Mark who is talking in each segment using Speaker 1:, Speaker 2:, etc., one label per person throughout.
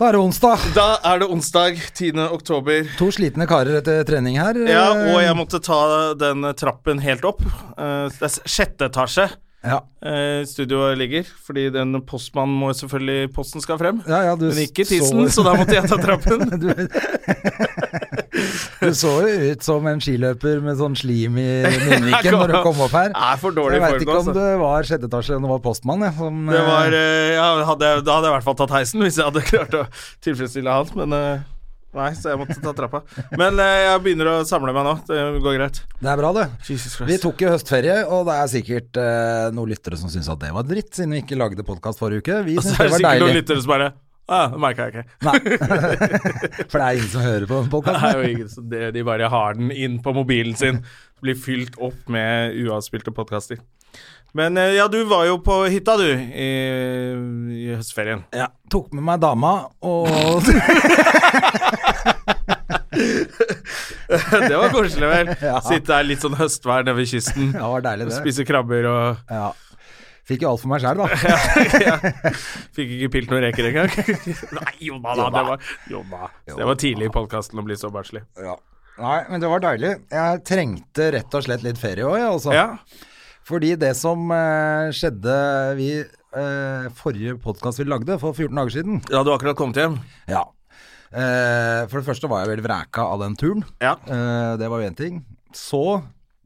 Speaker 1: Da er det onsdag.
Speaker 2: Da er det onsdag 10. oktober.
Speaker 1: To slitne karer etter trening her.
Speaker 2: Ja, og jeg måtte ta den trappen helt opp. Eh, Det er sjette etasje
Speaker 1: Ja,
Speaker 2: eh, studioet ligger, fordi den postmannen må selvfølgelig Posten skal frem.
Speaker 1: ja, ja du
Speaker 2: Men ikke tissen, så da måtte jeg ta trappen.
Speaker 1: du, du så jo ut som en skiløper med sånn slim i munnviken når du kom opp her.
Speaker 2: Jeg er for dårlig
Speaker 1: Jeg
Speaker 2: i
Speaker 1: veit ikke
Speaker 2: form,
Speaker 1: om
Speaker 2: altså.
Speaker 1: det var sjette etasje eller om det var postmann. Jeg, som,
Speaker 2: Det var,
Speaker 1: eh,
Speaker 2: eh, ja, hadde jeg, da hadde jeg i hvert fall tatt heisen, hvis jeg hadde klart å tilfredsstille han. Men eh, nei, så jeg måtte ta trappa. Men eh, jeg begynner å samle meg nå. Det går greit.
Speaker 1: det er bra, det.
Speaker 2: eh, Jesus
Speaker 1: Vi
Speaker 2: Christ.
Speaker 1: tok jo høstferie, og det er sikkert eh, noen lyttere som syns at det var dritt, siden vi ikke lagde podkast forrige uke. Vi
Speaker 2: Og så
Speaker 1: syns
Speaker 2: er
Speaker 1: det
Speaker 2: det
Speaker 1: var
Speaker 2: sikkert noen
Speaker 1: deilig.
Speaker 2: lyttere som bare ah, Det merka jeg ikke.
Speaker 1: Nei. For det er ingen som hører på den
Speaker 2: Det er
Speaker 1: podkasten.
Speaker 2: jo ingen som det, De bare har den inn på mobilen sin. Blir fylt opp med uavspilte podkaster. Men eh, ja, du var jo på hytta, du, i, i høstferien.
Speaker 1: Ja. Tok med meg dama og
Speaker 2: Det var koselig, vel?
Speaker 1: Ja.
Speaker 2: Sitte der litt sånn høstvær nede ved kysten.
Speaker 1: Ja, det var deilig, det.
Speaker 2: Spise krabber og
Speaker 1: Ja. Fikk jo alt for meg sjæl, da.
Speaker 2: Fikk ikke pilt noen reker engang. Nei, jo da, da. Det var, jo da. Så det var tidlig i podkasten å bli så barnslig.
Speaker 1: Nei, men det var deilig. Jeg trengte rett og slett litt ferie òg, jeg, altså.
Speaker 2: Ja.
Speaker 1: Fordi det som eh, skjedde vi eh, Forrige podkast vi lagde, for 14 dager siden
Speaker 2: ja, du har akkurat kommet hjem?
Speaker 1: Ja. Eh, for det første var jeg veldig vræka av den turen.
Speaker 2: Ja.
Speaker 1: Eh, det var jo én ting. Så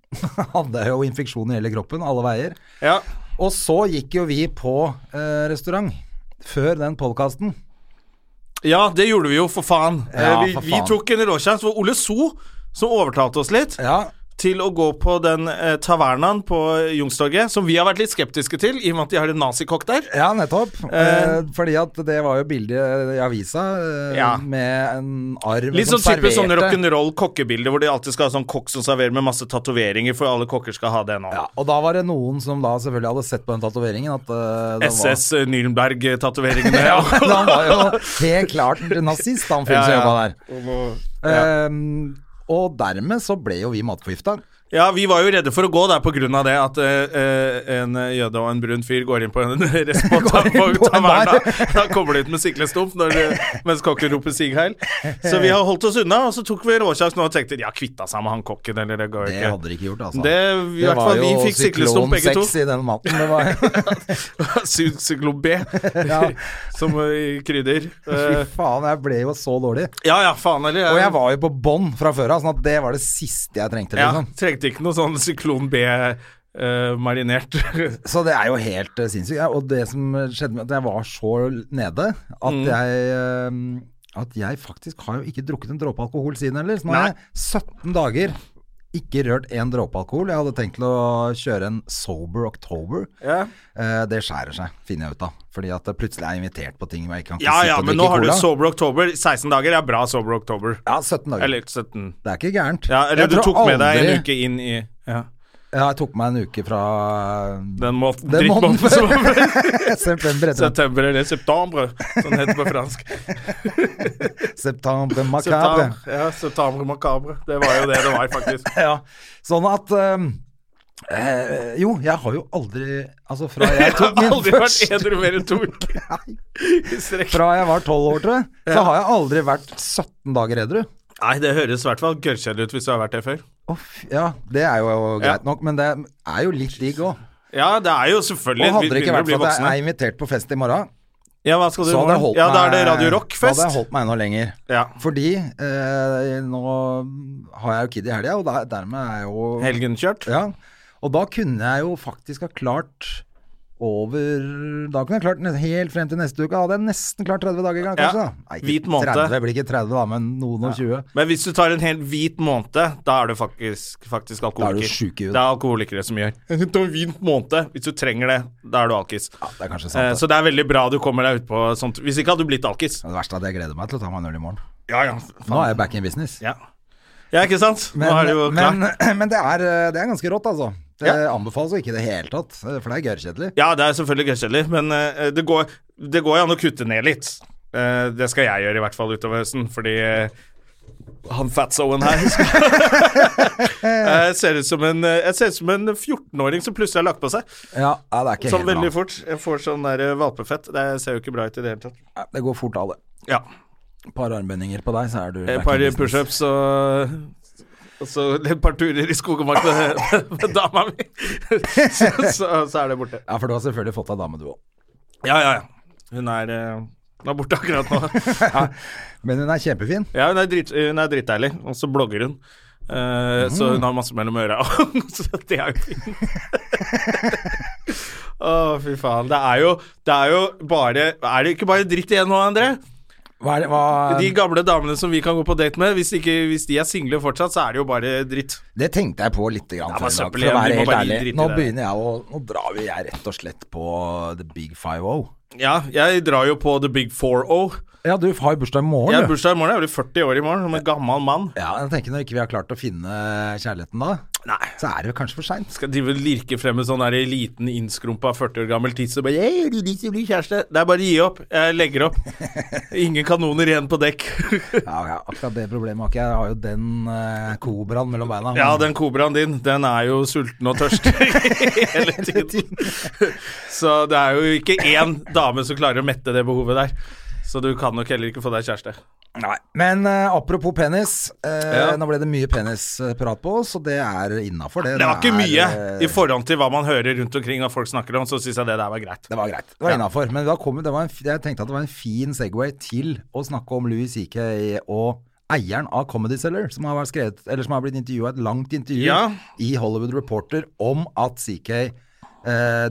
Speaker 1: hadde jeg jo infeksjon i hele kroppen, alle veier.
Speaker 2: Ja.
Speaker 1: Og så gikk jo vi på eh, restaurant før den podkasten.
Speaker 2: ja, det gjorde vi jo, for faen.
Speaker 1: Ja,
Speaker 2: Eh, vi,
Speaker 1: for
Speaker 2: vi
Speaker 1: faen.
Speaker 2: tok en råsjanse for Ole So, som overtalte oss litt.
Speaker 1: Ja.
Speaker 2: til å gå på den eh, tavernaen på eh, Youngstorget, som vi har vært litt skeptiske til, i og med at de har en nazikokk der.
Speaker 1: Ja, nettopp.
Speaker 2: Eh,
Speaker 1: Eh, fordi at det var jo bilde i avisa eh,
Speaker 2: Ja.
Speaker 1: med en arm
Speaker 2: Litt
Speaker 1: som
Speaker 2: sånn type
Speaker 1: serverte.
Speaker 2: sånn rock'n'roll kokkebilde, hvor de alltid skal ha sånn kokk som serverer med masse tatoveringer, for alle kokker skal ha det nå.
Speaker 1: Ja, og da var det noen som da selvfølgelig hadde sett på den tatoveringen at eh, den var-
Speaker 2: SS Nürnberg-tatoveringene. ja,
Speaker 1: Men han var jo helt klart nazist, han fyren som jobba der. Ehm, og dermed så ble jo vi matforgifta.
Speaker 2: Ja, vi var jo redde for å gå der på grunn av det at eh, eh, en jøde og en brun fyr går inn på en rest på ta-
Speaker 1: Går inn
Speaker 2: på
Speaker 1: på en bar.
Speaker 2: taverna. Da kommer de ut med siklestump når de- mens kokken roper 'sig heil'. Så vi har holdt oss unna, og så tok vi råsjans nå og tenkte ja, kvitta seg med han kokken, eller det går
Speaker 1: Det
Speaker 2: ikke.
Speaker 1: hadde de ikke gjort, altså.
Speaker 2: Det, i hvert fall, vi fikk siklestump begge to.
Speaker 1: syklon 6 i den maten. Det var
Speaker 2: Sy- Syklon B,
Speaker 1: Ja.
Speaker 2: som eh, krydder.
Speaker 1: Fy
Speaker 2: Eh,
Speaker 1: faen, jeg ble jo så dårlig.
Speaker 2: ja ja, faen heller.
Speaker 1: Og jeg var jo på bånn fra før av, sånn at det var det siste jeg trengte.
Speaker 2: ja,
Speaker 1: Liksom.
Speaker 2: Trengte ikke noe sånn syklon B-marinert.
Speaker 1: Så det er jo helt eh, sinnssykt. Ja, og det som skjedde med at jeg var så nede at
Speaker 2: Mm.
Speaker 1: jeg eh, At jeg faktisk har jo ikke drukket en dråpe alkohol siden heller. Så nå har
Speaker 2: Nei.
Speaker 1: jeg 17 dager ikke rørt én dråpe alkohol. Jeg hadde tenkt til å kjøre en sober October.
Speaker 2: ja.
Speaker 1: Eh, det skjærer seg, finner jeg ut av. Fordi at plutselig er jeg invitert på ting hvor jeg ikke kan ikke
Speaker 2: Ja
Speaker 1: sitte
Speaker 2: ja,
Speaker 1: og
Speaker 2: men nå
Speaker 1: drikke
Speaker 2: har du
Speaker 1: cola.
Speaker 2: Sober October. 16 dager er bra Sober October.
Speaker 1: Ja, 17 dager.
Speaker 2: Eller 17.
Speaker 1: det er ikke gærent.
Speaker 2: Ja, eller
Speaker 1: Jeg
Speaker 2: du
Speaker 1: tror
Speaker 2: tok med deg
Speaker 1: aldri-
Speaker 2: en uke inn i ja.
Speaker 1: Ja, jeg tok meg en uke fra
Speaker 2: den måten.
Speaker 1: Den måneden
Speaker 2: Drittmåten som var
Speaker 1: september etter
Speaker 2: September eller septembre, som det heter på fransk.
Speaker 1: september macabre.
Speaker 2: Septembre, ja, septembre macabre. Det var jo det det var, faktisk.
Speaker 1: Ja. Sånn at ehm, eh, Jo, jeg har jo aldri Altså, fra jeg
Speaker 2: Jeg
Speaker 1: tok
Speaker 2: har
Speaker 1: min
Speaker 2: aldri vært
Speaker 1: første
Speaker 2: edru mer enn to uker. I strekk.
Speaker 1: Fra jeg var 12 år, tror jeg, så har jeg aldri vært 17 dager edru.
Speaker 2: Nei, det høres i hvert fall gørrkjedelig ut hvis du har vært det før.
Speaker 1: Å, fy- ja, det er jo greit nok, men det er jo litt digg òg.
Speaker 2: Ja, det er jo selvfølgelig
Speaker 1: Og hadde
Speaker 2: Vi
Speaker 1: det ikke
Speaker 2: begynner å
Speaker 1: vært
Speaker 2: bli
Speaker 1: for at
Speaker 2: voksne.
Speaker 1: jeg er invitert på fest i morgen,
Speaker 2: Ja, hva skal du
Speaker 1: så hadde jeg holdt
Speaker 2: Ja, da er det
Speaker 1: meg-
Speaker 2: Radio
Speaker 1: Da
Speaker 2: Rock-fest.
Speaker 1: hadde jeg holdt meg enda lenger.
Speaker 2: Ja.
Speaker 1: Fordi eh, nå har jeg jo kid i helga, og der, dermed er jeg jo
Speaker 2: Helgen kjørt.
Speaker 1: Ja. Og da kunne jeg jo faktisk ha klart over Da kunne jeg klart nes- helt frem til neste uke. Da hadde jeg nesten klart 30 dager, kanskje.
Speaker 2: Ja.
Speaker 1: da. Nei, ikke
Speaker 2: Hvit måned.
Speaker 1: 30, det blir ikke 30, da, men noen og 20.
Speaker 2: Men hvis du tar en helt hvit måned, da er du faktisk, faktisk
Speaker 1: Da er du
Speaker 2: alkoholiker.
Speaker 1: sjuk i huet.
Speaker 2: det er alkoholikere som gjør. Ta en hvit måned. Hvis du trenger det, da er du alkis.
Speaker 1: Det er kanskje
Speaker 2: Eh,
Speaker 1: sant. det.
Speaker 2: Så det er veldig bra du kommer deg utpå sånt. Hvis ikke hadde du blitt alkis.
Speaker 1: Det verste er at jeg gleder meg til å ta meg en øl i morgen.
Speaker 2: Ja, ja.
Speaker 1: Nå er jeg back in business.
Speaker 2: Ja, ja ikke sant?
Speaker 1: Men,
Speaker 2: Nå er det jo klart.
Speaker 1: men, men det, er, eh, det er ganske rått, altså. Det
Speaker 2: Ja.
Speaker 1: anbefales jo ikke i det hele tatt, eh, for det er gørrkjedelig.
Speaker 2: Ja, det er selvfølgelig gørrkjedelig, men eh, det, går, det går jo an å kutte ned litt. Eh, det skal jeg gjøre i hvert fall utover høsten, fordi eh, han fatsoen her Jeg ser ut som en, eh, jeg ser ut som en 14-åring som plutselig har lagt på seg.
Speaker 1: Ja, ja, det er ikke
Speaker 2: Sånn
Speaker 1: helt
Speaker 2: veldig
Speaker 1: bra.
Speaker 2: fort. Jeg får sånn der eh, valpefett. Det ser jo ikke bra ut i det hele tatt.
Speaker 1: Ja, Det går fort av, det.
Speaker 2: Ja.
Speaker 1: Et par armbøyninger på deg, så er du
Speaker 2: Et
Speaker 1: back
Speaker 2: par
Speaker 1: in business.
Speaker 2: pushups og og så et par turer i skog og mark med, med dama mi, så, så, så er det borte.
Speaker 1: Ja, for du har selvfølgelig fått deg dame, du òg.
Speaker 2: Ja, ja, ja. Hun er, eh, hun er borte akkurat nå.
Speaker 1: Men hun er kjempefin.
Speaker 2: Ja, hun er, drit, hun er dritdeilig, og så blogger hun. Eh,
Speaker 1: Mm.
Speaker 2: Så hun har masse mellom øra. så det er jo fint. Å, fy faen. Det er jo, det er jo bare Er det ikke bare dritt igjen nå, André?
Speaker 1: Hva er det, hva...
Speaker 2: De gamle damene som vi kan gå på date med, hvis, ikke, hvis de er single fortsatt, så er det jo bare dritt.
Speaker 1: Det tenkte jeg på litt
Speaker 2: Ja,
Speaker 1: grann
Speaker 2: bare
Speaker 1: før i dag,
Speaker 2: søppel
Speaker 1: for å
Speaker 2: igjen, vi
Speaker 1: være
Speaker 2: må
Speaker 1: helt
Speaker 2: bare
Speaker 1: ærlig.
Speaker 2: drite i
Speaker 1: Nå
Speaker 2: det.
Speaker 1: begynner jeg å Nå drar vi jeg rett og slett på the big oh. five-o.
Speaker 2: Ja, jeg drar jo på The Big 4-0.
Speaker 1: Ja, du har jo bursdag
Speaker 2: Jeg
Speaker 1: i
Speaker 2: har
Speaker 1: morgen, du.
Speaker 2: bursdag i morgen, jeg blir 40 år i morgen, som en gammel mann.
Speaker 1: Ja, jeg tenker Når ikke vi har klart å finne kjærligheten da,
Speaker 2: Nei.
Speaker 1: så er det jo kanskje for seint.
Speaker 2: Skal de vel lirke frem en sånn der liten, innskrumpa 40 år gammel tiss og bare «Hei, du vil ikke bli kjæreste. Det er bare å gi opp. Jeg legger opp. Ingen kanoner igjen på dekk.
Speaker 1: Ja, ja, akkurat det problemet har ikke jeg. Jeg har jo den eh, kobraen mellom beina.
Speaker 2: Ja, den kobraen din, den er jo sulten og tørst hele tiden. Så det er jo ikke én dame som klarer å mette det behovet der. Så du kan nok heller ikke få deg kjæreste.
Speaker 1: Nei. Men eh, apropos penis. eh,
Speaker 2: Ja.
Speaker 1: Nå ble det mye penisprat på oss, og det er innafor, det.
Speaker 2: Det var ikke mye
Speaker 1: er, eh,
Speaker 2: i forhold til hva man hører rundt omkring at folk snakker om, så syns jeg det der var greit.
Speaker 1: Det var greit. Det var innafor. Men da kom, det var en, f- jeg tenkte at det var en fin Segway til å snakke om Louis CK og eieren av Comedy Cellar, som har, vært skrevet, eller som har blitt intervjua, et langt intervju
Speaker 2: Ja.
Speaker 1: i Hollywood Reporter om at CK eh,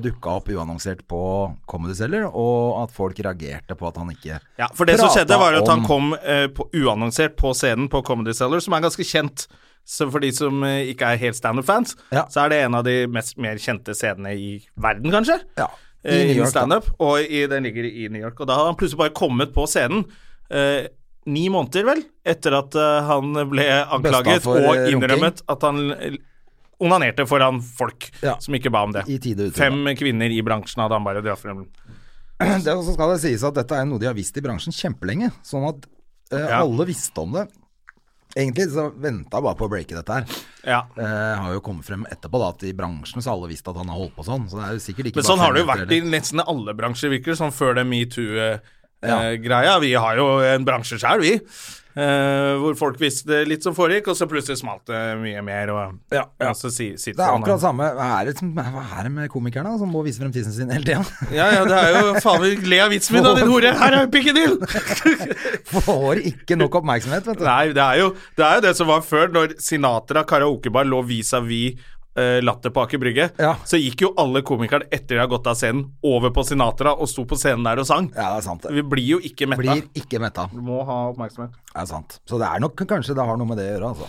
Speaker 1: dukka opp uannonsert på Comedy Cellar, og at folk reagerte på at han ikke
Speaker 2: Ja, For det som
Speaker 1: prata
Speaker 2: skjedde, var at han
Speaker 1: om-
Speaker 2: kom eh, på, uannonsert på scenen på Comedy Cellar, som er ganske kjent. Så for de som eh, ikke er helt standup-fans,
Speaker 1: Ja.
Speaker 2: så er det en av de mest, mer kjente scenene i verden, kanskje.
Speaker 1: Ja, i
Speaker 2: Eh,
Speaker 1: New York, da.
Speaker 2: standup, og i, den ligger i New York. Og da har han plutselig bare kommet på scenen. Eh, Ni måneder, vel, etter at eh, han ble anklaget
Speaker 1: for, eh,
Speaker 2: og
Speaker 1: runking.
Speaker 2: innrømmet at han eh, onanerte foran folk
Speaker 1: Ja.
Speaker 2: som ikke ba om det.
Speaker 1: I tide og utide.
Speaker 2: Fem kvinner i bransjen hadde han bare dratt frem.
Speaker 1: Det så skal det sies at dette er noe de har visst i bransjen kjempelenge, sånn at eh,
Speaker 2: Ja.
Speaker 1: alle visste om det. Egentlig så venta bare på å breake dette her.
Speaker 2: Ja.
Speaker 1: Eh, har jo kommet frem etterpå da, at i bransjen så har alle visst at han har holdt på sånn. Så det er jo sikkert ikke
Speaker 2: Men sånn
Speaker 1: bare
Speaker 2: har det jo
Speaker 1: femmeter
Speaker 2: vært i
Speaker 1: heller.
Speaker 2: nesten alle bransjer, virker det som, før det
Speaker 1: Ja.
Speaker 2: metoo-greia. Vi har jo en bransje sjøl, vi. eh, hvor folk visste litt som foregikk, og så plutselig smalt det mye mer. Og,
Speaker 1: Ja, ja.
Speaker 2: og så si, sitter
Speaker 1: Det er
Speaker 2: han
Speaker 1: akkurat
Speaker 2: og-
Speaker 1: samme. Hva er det, som, hva er det med komikerne da, som må vise frem tissen sin hele tida?
Speaker 2: Ja, ja, det er jo faen meg Le av vitsen min, da, din hore! Her er pikken din!
Speaker 1: Får ikke nok oppmerksomhet, vet du.
Speaker 2: Nei, det er, jo, det er jo det som var før, når Sinatra karaokebar lå vis-à-vis eh, Latter på Aker Brygge.
Speaker 1: Ja.
Speaker 2: Så gikk jo alle komikerne etter de har gått av scenen, over på Sinatra og sto på scenen der og sang.
Speaker 1: Ja, det er sant.
Speaker 2: Vi
Speaker 1: det.
Speaker 2: blir jo ikke metta.
Speaker 1: Blir ikke metta.
Speaker 2: Du må ha oppmerksomhet.
Speaker 1: Det er sant. Så det er nok kanskje det har noe med det å gjøre, altså.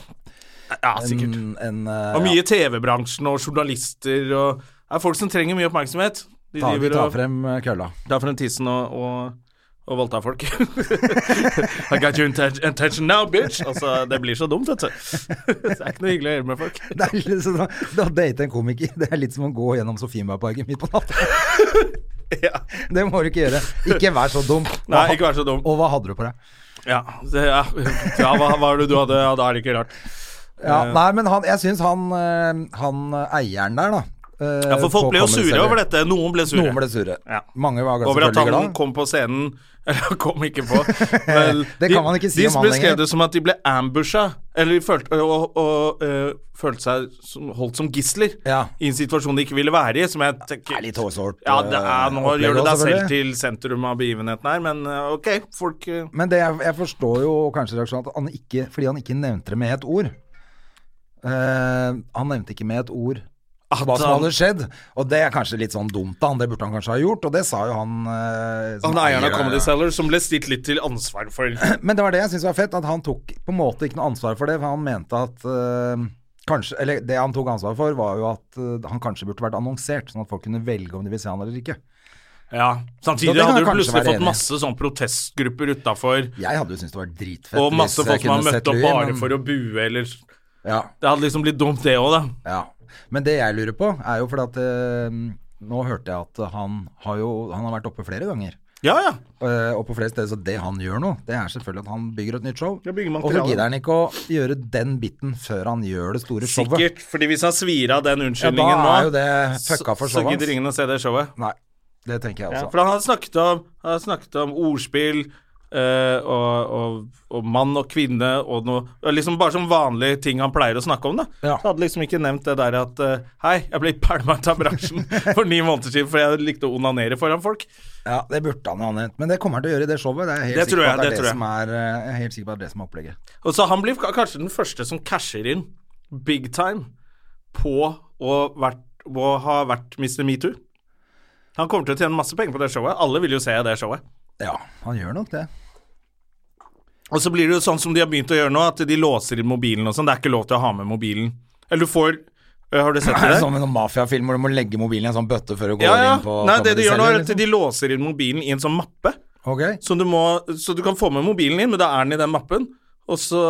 Speaker 2: Ja, sikkert.
Speaker 1: En, en, eh,
Speaker 2: Og mye i TV-bransjen og journalister og Det er folk som trenger mye oppmerksomhet. De
Speaker 1: ja, ta,
Speaker 2: driver
Speaker 1: ta
Speaker 2: og
Speaker 1: frem eh, kølla.
Speaker 2: tar frem tissen og, og, og voldtar folk. I got your inten- intention now, bitch! Altså, det blir så dumt, vet du. det er ikke noe hyggelig å gjøre med folk.
Speaker 1: Det er litt sånn, da å date en komiker, det er litt som å gå gjennom Sofienbergparken midt på natta.
Speaker 2: Ja.
Speaker 1: Det må du ikke gjøre. Ikke vær så dum.
Speaker 2: Nei, ikke vær så dum.
Speaker 1: Og hva hadde du på deg?
Speaker 2: Ja, det, ja. ja hva hva var det du hadde? Ja, da er det ikke rart.
Speaker 1: Ja,
Speaker 2: Eh.
Speaker 1: nei, men han, jeg syns han, eh, han eh, eieren der, da eh,
Speaker 2: Ja, For folk
Speaker 1: på
Speaker 2: ble jo
Speaker 1: Comedy
Speaker 2: sure
Speaker 1: Cellar.
Speaker 2: over dette. Noen ble sure.
Speaker 1: Noen ble sure.
Speaker 2: Ja.
Speaker 1: Mange var
Speaker 2: Over at
Speaker 1: selvfølgelig
Speaker 2: han
Speaker 1: glad.
Speaker 2: kom på scenen Eller han kom ikke på. Men
Speaker 1: Det kan man ikke si
Speaker 2: de
Speaker 1: om han
Speaker 2: beskrev
Speaker 1: lenger.
Speaker 2: det som at de ble ambusha, eller følte, og, og, øh, følte seg som, holdt som gisler
Speaker 1: Ja.
Speaker 2: i en situasjon de ikke ville være i. Som jeg
Speaker 1: Det
Speaker 2: tenker
Speaker 1: er litt hårsårt.
Speaker 2: Ja, det er, nå
Speaker 1: eh,
Speaker 2: gjør du deg
Speaker 1: opplegg også,
Speaker 2: selv
Speaker 1: selvfølgelig.
Speaker 2: til sentrum av begivenheten her, men øh, ok, folk øh,
Speaker 1: Men det, jeg, jeg forstår jo kanskje reaksjonen at han ikke, fordi han ikke nevnte det med et ord. Eh, han nevnte ikke med et ord hva som
Speaker 2: han-
Speaker 1: hadde skjedd. Og det er kanskje litt sånn dumt av han, det burde han kanskje ha gjort, og det sa jo han eh, som
Speaker 2: Han er eieren av
Speaker 1: eier-
Speaker 2: Comedy Cellar, som ble stilt litt til ansvar for
Speaker 1: Men det var det jeg syntes var fett, at han tok på en måte ikke noe ansvar for det, for han mente at eh, Kanskje, eller Det han tok ansvar for, var jo at eh, han kanskje burde vært annonsert, sånn at folk kunne velge om de vil se han eller ikke.
Speaker 2: Ja,
Speaker 1: Så
Speaker 2: Samtidig
Speaker 1: det kan
Speaker 2: hadde
Speaker 1: jeg
Speaker 2: du
Speaker 1: kanskje
Speaker 2: plutselig
Speaker 1: være
Speaker 2: fått
Speaker 1: enig i.
Speaker 2: masse sånn protestgrupper utafor,
Speaker 1: Jeg hadde jo syntes det var dritfett.
Speaker 2: og
Speaker 1: hvis
Speaker 2: masse
Speaker 1: jeg
Speaker 2: folk som har
Speaker 1: kunne
Speaker 2: møtt
Speaker 1: sett
Speaker 2: opp
Speaker 1: Louis,
Speaker 2: bare
Speaker 1: men-
Speaker 2: for å bue, eller Det
Speaker 1: ja,
Speaker 2: hadde liksom blitt dumt, det òg, da.
Speaker 1: ja. Men det jeg lurer på, er jo fordi at eh, Nå hørte jeg at han har jo han har vært oppe flere ganger.
Speaker 2: Ja, ja.
Speaker 1: Eh, og på flere steder, så det han gjør nå, det er selvfølgelig at han bygger et nytt show.
Speaker 2: Ja, bygger
Speaker 1: og så
Speaker 2: materiale.
Speaker 1: gidder han ikke å gjøre den biten før han gjør det store showet.
Speaker 2: Sikkert. fordi hvis han svir av den
Speaker 1: Ja, da
Speaker 2: unnskyldningen
Speaker 1: er jo
Speaker 2: nå,
Speaker 1: det
Speaker 2: så,
Speaker 1: fucka for
Speaker 2: så
Speaker 1: showet
Speaker 2: gidder
Speaker 1: hans.
Speaker 2: ingen å se det showet.
Speaker 1: Nei, det tenker jeg
Speaker 2: Ja,
Speaker 1: også.
Speaker 2: for han har snakket om, han har snakket om ordspill eh, og, og, og mann og kvinne og noe og Liksom bare som vanlige ting han pleier å snakke om, da.
Speaker 1: Ja.
Speaker 2: Så hadde liksom ikke nevnt det der at eh, Hei, jeg ble pælma ut av bransjen for ni måneder siden fordi jeg likte å onanere foran folk.
Speaker 1: Ja, det burde han jo ha nevnt. Men det kommer han til å gjøre i det showet. Det er jeg helt
Speaker 2: Det
Speaker 1: sikker
Speaker 2: tror
Speaker 1: på
Speaker 2: jeg,
Speaker 1: at det
Speaker 2: det
Speaker 1: er
Speaker 2: tror
Speaker 1: det
Speaker 2: jeg.
Speaker 1: som er eh, Jeg er helt sikker på at det er det som er opplegget.
Speaker 2: Og så han blir ka- kanskje den første som casher inn big time på å, vært, å ha vært Mr. Metoo. Han kommer til å tjene masse penger på det showet. Alle vil jo se det showet.
Speaker 1: Ja, han gjør nok det.
Speaker 2: Og så blir det jo sånn som de har begynt å gjøre nå, at de låser inn mobilen og sånn. Det er ikke lov til å ha med mobilen. Eller du får øh, Har du sett
Speaker 1: Er
Speaker 2: det?
Speaker 1: det sånn med noen mafiafilm hvor du må legge mobilen i en sånn bøtte før du går
Speaker 2: Ja, ja.
Speaker 1: inn på
Speaker 2: Nei, det de gjør nå, er at
Speaker 1: liksom?
Speaker 2: de låser inn mobilen i en sånn mappe.
Speaker 1: Ok.
Speaker 2: Så du, må, så du kan få med mobilen din, men da er den i den mappen. Og så,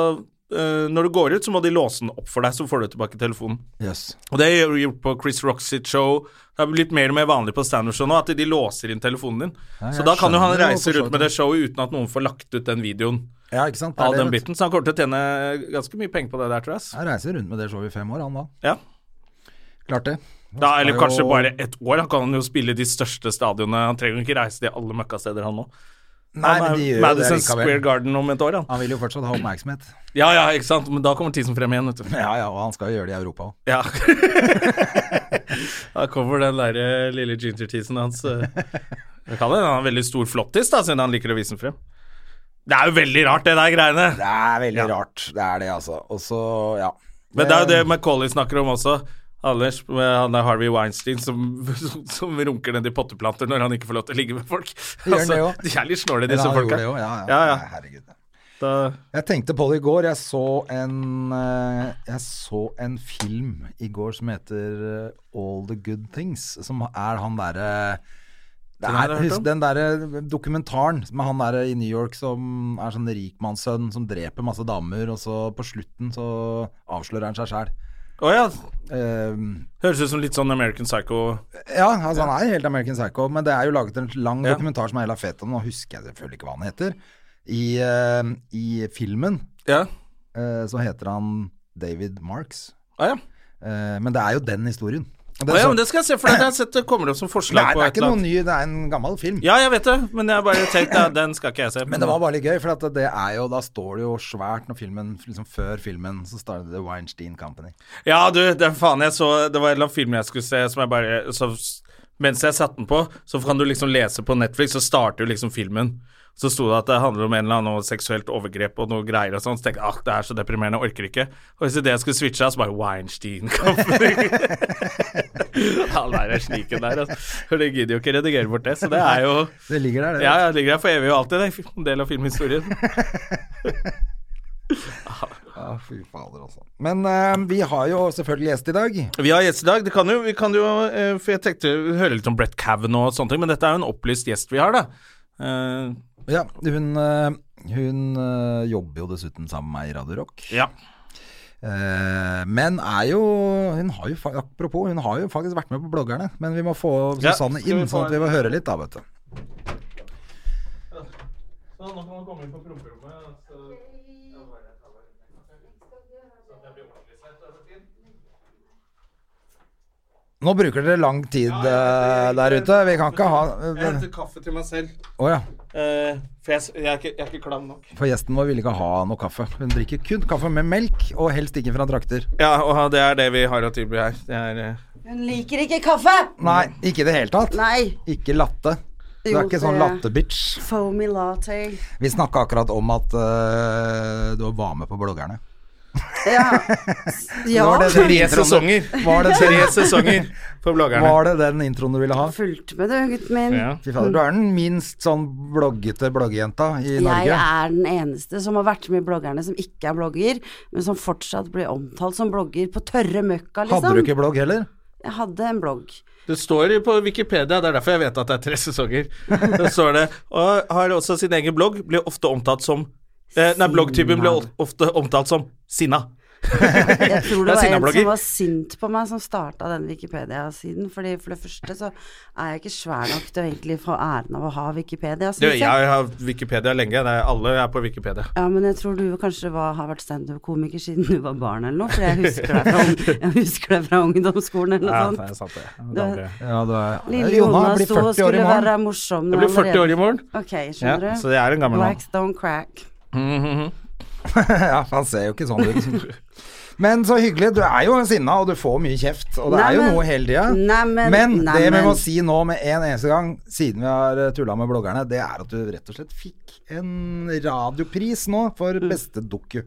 Speaker 2: øh, når du går ut, så må de låse den opp for deg, så får du tilbake telefonen.
Speaker 1: Jøss.
Speaker 2: Og det har de gjort på Chris Rock sitt show. Det har blitt mer og mer vanlig på standup-show nå at de låser inn telefonen din. så
Speaker 1: jeg
Speaker 2: da kan jo han
Speaker 1: skjønner jo
Speaker 2: reise
Speaker 1: for så
Speaker 2: rundt med det showet uten at noen får lagt ut den videoen
Speaker 1: Ja, ikke sant. Det er
Speaker 2: av
Speaker 1: det,
Speaker 2: den
Speaker 1: vet du.
Speaker 2: biten. Så han kommer til å tjene ganske mye penger på det der, tror jeg. ass.
Speaker 1: Jeg reiser rundt med det showet i fem år, han da.
Speaker 2: Ja.
Speaker 1: Klart det.
Speaker 2: Da, eller
Speaker 1: jo-
Speaker 2: kanskje bare ett år. Han kan jo spille de største stadionene. Han trenger jo ikke reise til alle møkkasteder, han nå.
Speaker 1: Nei,
Speaker 2: Han
Speaker 1: men
Speaker 2: er
Speaker 1: de gjør jo det
Speaker 2: Madison Square
Speaker 1: likevel.
Speaker 2: Garden om et år, han.
Speaker 1: Han vil jo fortsatt ha oppmerksomhet.
Speaker 2: Ja ja, ikke sant. Men da kommer tissen frem igjen, vet du.
Speaker 1: Ja ja, og han skal jo gjøre det i Europa òg.
Speaker 2: Ja. da kommer den derre lille ginger-tisen hans. eh. Jeg kaller han en veldig stor flottis, da, siden han liker å vise den frem. Det er jo veldig rart, det der greiene.
Speaker 1: Det er veldig rart. Det er det, altså. Og så, ja.
Speaker 2: Men det er jo det Macauley snakker om også. Anders, med han der Harvey Weinstein som, som runker ned i potteplanter når han ikke får lov til å ligge med folk. Altså,
Speaker 1: gjør det jo.
Speaker 2: de er litt snåle,
Speaker 1: Ja,
Speaker 2: disse
Speaker 1: han gjorde
Speaker 2: folka.
Speaker 1: det jo, ja, ja.
Speaker 2: Ja, ja.
Speaker 1: Nei, Herregud.
Speaker 2: Da-
Speaker 1: Jeg tenkte på det i går. Jeg så en, eh, jeg så en film i går som heter eh, All the Good Things, som er han derre det
Speaker 2: Den har
Speaker 1: er,
Speaker 2: jeg hørt om.
Speaker 1: husk, den derre dokumentaren med han derre i New York som er sånn rikmannssønn som dreper masse damer, og så på slutten så avslører han seg sjæl.
Speaker 2: Å ja.
Speaker 1: Eh,
Speaker 2: Høres ut som litt sånn American Psycho.
Speaker 1: Ja, altså han er helt American Psycho, men det er jo laget en lang
Speaker 2: Ja.
Speaker 1: dokumentar som er helt fet om, nå husker jeg selvfølgelig ikke hva han heter. I, eh, i filmen
Speaker 2: Ja.
Speaker 1: eh, så heter han David Marks,
Speaker 2: Å ja.
Speaker 1: Eh, men det er jo den historien. Og
Speaker 2: Å, ja,
Speaker 1: så-
Speaker 2: men det skal jeg se, for det har jeg sett det kommer opp som forslag
Speaker 1: Nei, det
Speaker 2: på
Speaker 1: er
Speaker 2: et
Speaker 1: ikke
Speaker 2: eller
Speaker 1: noe
Speaker 2: annet.
Speaker 1: ny, det er en gammel film.
Speaker 2: Ja, jeg vet det, men jeg bare tenkte at den skal ikke jeg se.
Speaker 1: Men det var bare litt gøy, for at det er jo, da står det jo svært når filmen, liksom før filmen, så startet det Weinstein Company.
Speaker 2: Ja, du, det, faen, jeg så, det var en eller annen film jeg skulle se som jeg bare så, Mens jeg satte den på, så kan du liksom lese på Netflix, så starter jo liksom filmen. Så sto det at det handler om en eller annen noe seksuelt overgrep og noe greier og sånn. Så tenkte jeg at det er så deprimerende, jeg orker ikke. Og hvis det jeg skulle switche av, så bare Weinstein Company. Han der er sniken der, altså. For det gidder jo ikke redigere bort det, så det er jo
Speaker 1: Det ligger der, det.
Speaker 2: Ja, ja, det ligger der for evig og alltid, det. er En del av filmhistorien.
Speaker 1: Ja, fy fader altså. Men eh, vi har jo selvfølgelig gjest i dag.
Speaker 2: Vi har gjest i dag. Det kan jo, vi kan jo eh, For jeg tenkte å høre litt om Brett Kavanaugh og sånne ting, men dette er jo en opplyst gjest vi har, da. Eh,
Speaker 1: Ja, hun, eh, hun eh, jobber jo dessuten sammen med meg i Radio Rock.
Speaker 2: ja.
Speaker 1: Eh, men er jo Hun har jo fa- Apropos, hun har jo faktisk vært med på bloggerne. Men vi må få
Speaker 2: Ja,
Speaker 1: Susanne
Speaker 2: skal vi
Speaker 1: inn,
Speaker 2: få
Speaker 1: sånn at vi
Speaker 2: en-
Speaker 1: må høre litt, da, vet du.
Speaker 2: nå kan man komme inn på promperommet. eh,
Speaker 1: Nå bruker dere lang tid eh, der ute. Vi kan ikke ha eh,
Speaker 2: Jeg henter kaffe til meg selv,
Speaker 1: Å ja.
Speaker 2: eh, for jeg, s- jeg, er ikke, jeg er ikke klam nok.
Speaker 1: For gjesten vår ville ikke ha noe kaffe. Hun drikker kun kaffe med melk, og helst ikke fra drakter.
Speaker 2: Ja, og det er det vi har å tilby her. Det er, eh,
Speaker 3: Hun liker ikke kaffe!
Speaker 1: Nei, ikke i det hele tatt.
Speaker 3: Nei.
Speaker 1: Ikke latte. Du
Speaker 3: Jo,
Speaker 1: er ikke sånn
Speaker 3: det-
Speaker 1: latte-bitch.
Speaker 3: Foamy latte.
Speaker 1: Vi snakka akkurat om at eh, du var med på bloggerne.
Speaker 4: Ja. ja.
Speaker 1: var det-
Speaker 2: Tre
Speaker 1: Introen.
Speaker 2: sesonger.
Speaker 1: Var det
Speaker 2: Tre
Speaker 1: den,
Speaker 2: sesonger for bloggerne.
Speaker 1: var det den introen du ville ha?
Speaker 4: Fulgte med det, gutten min.
Speaker 2: Ja.
Speaker 1: Fy fader, du er den minst sånn bloggete bloggejenta i
Speaker 4: Jeg
Speaker 1: Norge.
Speaker 4: er den eneste som har vært med i bloggerne som ikke er blogger, men som fortsatt blir omtalt som blogger på tørre møkka, liksom.
Speaker 1: Hadde du ikke blogg heller?
Speaker 4: Jeg hadde en blogg.
Speaker 2: Det står på Wikipedia, det er derfor jeg vet at det er tre sesonger. Det står det, og har også sin egen blogg, blir ofte omtalt som eh, Nei, bloggtypen blir ofte omtalt som Sinna.
Speaker 4: Jeg tror
Speaker 2: Det er
Speaker 4: det, var en
Speaker 2: sinnablogger.
Speaker 4: som var sint på meg som starta den Wikipedia-siden. Fordi for det første så er jeg ikke svær nok til å egentlig få æren av å ha Wikipedia.
Speaker 2: Du,
Speaker 4: synes
Speaker 2: jeg har Wikipedia lenge, det er, alle er på Wikipedia.
Speaker 4: Ja, men jeg tror du kanskje var, har vært standup-komiker siden du var barn eller noe, for jeg husker deg fra, ung- jeg husker deg fra ungdomsskolen eller
Speaker 2: Ja,
Speaker 4: noe
Speaker 2: det er sant,
Speaker 4: sånt.
Speaker 2: det.
Speaker 4: Du-
Speaker 2: det.
Speaker 1: Ja, du er
Speaker 4: Lille
Speaker 1: Jonna
Speaker 4: Jonas
Speaker 1: blir
Speaker 4: sto og
Speaker 1: 40 år i
Speaker 4: skulle være
Speaker 1: morgen.
Speaker 4: morsom.
Speaker 2: Jeg blir 40 år i morgen,
Speaker 4: Ok,
Speaker 2: ja,
Speaker 4: skjønner
Speaker 2: så
Speaker 4: du.
Speaker 2: jeg er en gammel mann.
Speaker 4: Blacks don't crack.
Speaker 2: Mm,
Speaker 1: Ja, han ser jo ikke sånn ut. Men så hyggelig. Du er jo sinna, og du får mye kjeft. Og det
Speaker 4: Nei,
Speaker 1: er jo
Speaker 4: men-
Speaker 1: noe hele tida.
Speaker 4: Nei, men-
Speaker 1: Men
Speaker 4: nei,
Speaker 1: det vi
Speaker 4: men-
Speaker 1: må si nå med en eneste gang, siden vi har tulla med bloggerne, det er at du rett og slett fikk en radiopris nå for beste doku.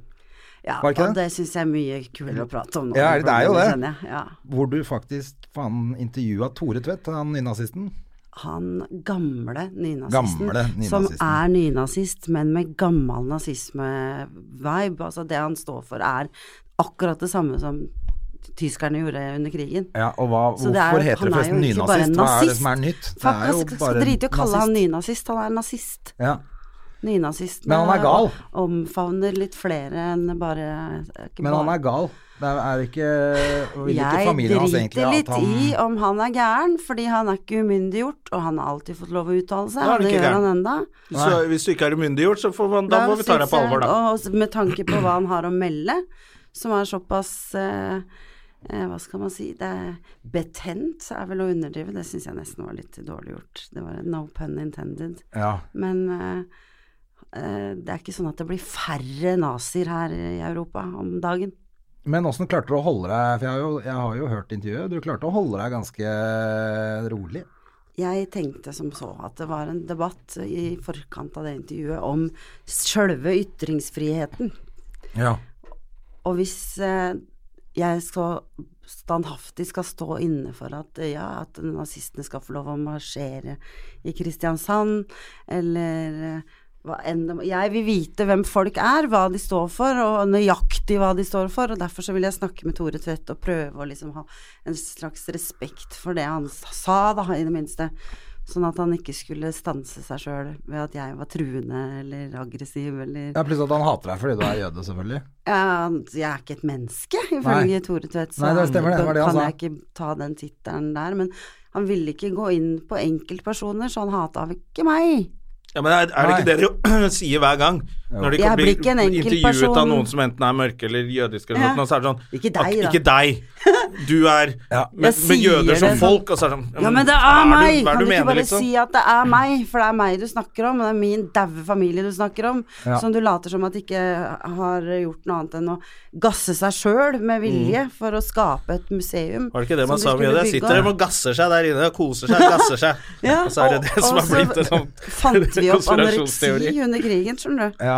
Speaker 4: Ja,
Speaker 1: Var det ikke
Speaker 4: og
Speaker 1: det?
Speaker 4: det syns jeg er mye kulere å prate om nå.
Speaker 1: Ja, det er jo det.
Speaker 4: Kjenner jeg. Ja.
Speaker 1: Hvor du faktisk faen intervjua Tore Tvedt, han nynazisten.
Speaker 4: han gamle nynazisten,
Speaker 1: Gamle
Speaker 4: som
Speaker 1: nynazisten.
Speaker 4: er nynazist, men med gammel nazisme-vibe. Altså det han står for er akkurat det samme som tyskerne gjorde under krigen.
Speaker 1: Ja, og hva,
Speaker 4: Så det er-
Speaker 1: hvorfor heter
Speaker 4: han
Speaker 1: det
Speaker 4: er jo
Speaker 1: forresten
Speaker 4: ikke bare
Speaker 1: nynazist? Hva er det som er nytt? Det
Speaker 4: Fuck,
Speaker 1: er jo
Speaker 4: jeg skal- skal
Speaker 1: bare
Speaker 4: drite i å kalle han
Speaker 1: nazist.
Speaker 4: nynazist, han er nazist.
Speaker 1: Ja.
Speaker 4: Nynazisten
Speaker 1: Men han er gal.
Speaker 4: omfavner litt flere enn bare ikke
Speaker 1: Men han
Speaker 4: bare-
Speaker 1: er gal. Det er, er ikke og vil ikke
Speaker 4: Jeg
Speaker 1: familien hans egentlig
Speaker 4: driter
Speaker 1: at
Speaker 4: litt
Speaker 1: han-
Speaker 4: i om han er gæren, fordi han er ikke umyndiggjort, og han har alltid fått lov å uttale seg,
Speaker 2: Da er
Speaker 4: og
Speaker 2: han
Speaker 4: det
Speaker 2: ikke
Speaker 4: gjør
Speaker 2: gæren.
Speaker 4: han enda.
Speaker 2: Så hvis du ikke er umyndiggjort, så får man, da må vi ta deg på
Speaker 4: synes
Speaker 2: alvor, da.
Speaker 4: jeg- Og s- med tanke på hva han har å melde, som er såpass eh, eh, Hva skal man si Det er betent, er vel å underdrive. Det syns jeg nesten var litt dårlig gjort. Det var en no pun intended.
Speaker 1: Ja.
Speaker 4: Men eh, eh, det er ikke sånn at det blir færre nazier her i Europa om dagen.
Speaker 1: Men åssen klarte du å holde deg For jeg har, jo, jeg har jo hørt intervjuet. Du klarte å holde deg ganske eh, rolig.
Speaker 4: Jeg tenkte som så at det var en debatt i forkant av det intervjuet om sjølve ytringsfriheten.
Speaker 1: Ja.
Speaker 4: Og hvis eh, jeg skal standhaftig skal stå inne for at eh, ja, at nazistene skal få lov å marsjere i Kristiansand, eller eh, hva enn det må Jeg vil vite hvem folk er, hva de står for, og nøyaktig hva de står for, og derfor så vil jeg snakke med Tore Tvedt og prøve å liksom ha en slags respekt for det han sa, da, i det minste. Sånn at han ikke skulle stanse seg sjøl ved at jeg var truende eller aggressiv eller
Speaker 1: ja plutselig at han hater deg fordi du er jøde, selvfølgelig.
Speaker 4: ja, Um, jeg er ikke et menneske, ifølge
Speaker 1: Nei.
Speaker 4: Tore Tvedt.
Speaker 1: Nei, det stemmer det, det var det han
Speaker 4: kan
Speaker 1: sa.
Speaker 4: jeg ikke ta den tittelen der. Men han ville ikke gå inn på enkeltpersoner, så han hata ikke meg.
Speaker 2: Ja, men er, er det ikke det dere sier hver gang? Når de
Speaker 4: Jeg blir ikke en
Speaker 2: intervjuet av
Speaker 4: enkeltperson.
Speaker 2: noen som enten er mørke eller jødiske eller
Speaker 4: Ja.
Speaker 2: noe, sånt, så er det sånn
Speaker 4: Ikke deg,
Speaker 2: «Ak-
Speaker 4: da.»
Speaker 2: Ikke deg. Du er
Speaker 4: Jeg
Speaker 2: med, med
Speaker 4: sier det
Speaker 2: jøder som
Speaker 4: sånn.
Speaker 2: folk, og så er det sånn
Speaker 4: Ja, men det
Speaker 2: hva
Speaker 4: er
Speaker 2: du-
Speaker 4: meg!
Speaker 2: hva er
Speaker 4: Kan du ikke
Speaker 2: mener,
Speaker 4: bare
Speaker 2: liksom?
Speaker 4: si at det er meg? For det er meg du snakker om, og det er min daue familie du snakker om.
Speaker 1: Ja.
Speaker 4: Som du later som at ikke har gjort noe annet enn å gasse seg sjøl med
Speaker 1: Mm.
Speaker 4: vilje for å skape et museum.
Speaker 2: Var det ikke det man
Speaker 4: som
Speaker 2: sa
Speaker 4: du
Speaker 2: om jøder?
Speaker 4: skulle
Speaker 2: Jeg
Speaker 4: bygge
Speaker 2: sitter
Speaker 4: opp.
Speaker 2: og gasser seg der inne og koser seg, gasser seg.
Speaker 4: Ja,
Speaker 2: og så er det det
Speaker 4: og-
Speaker 2: som
Speaker 4: og
Speaker 2: har
Speaker 4: så
Speaker 2: blitt en sånn
Speaker 4: Fant vi opp anoreksi
Speaker 2: konspirasjonsteori.
Speaker 4: under krigen, skjønner du?
Speaker 1: Ja.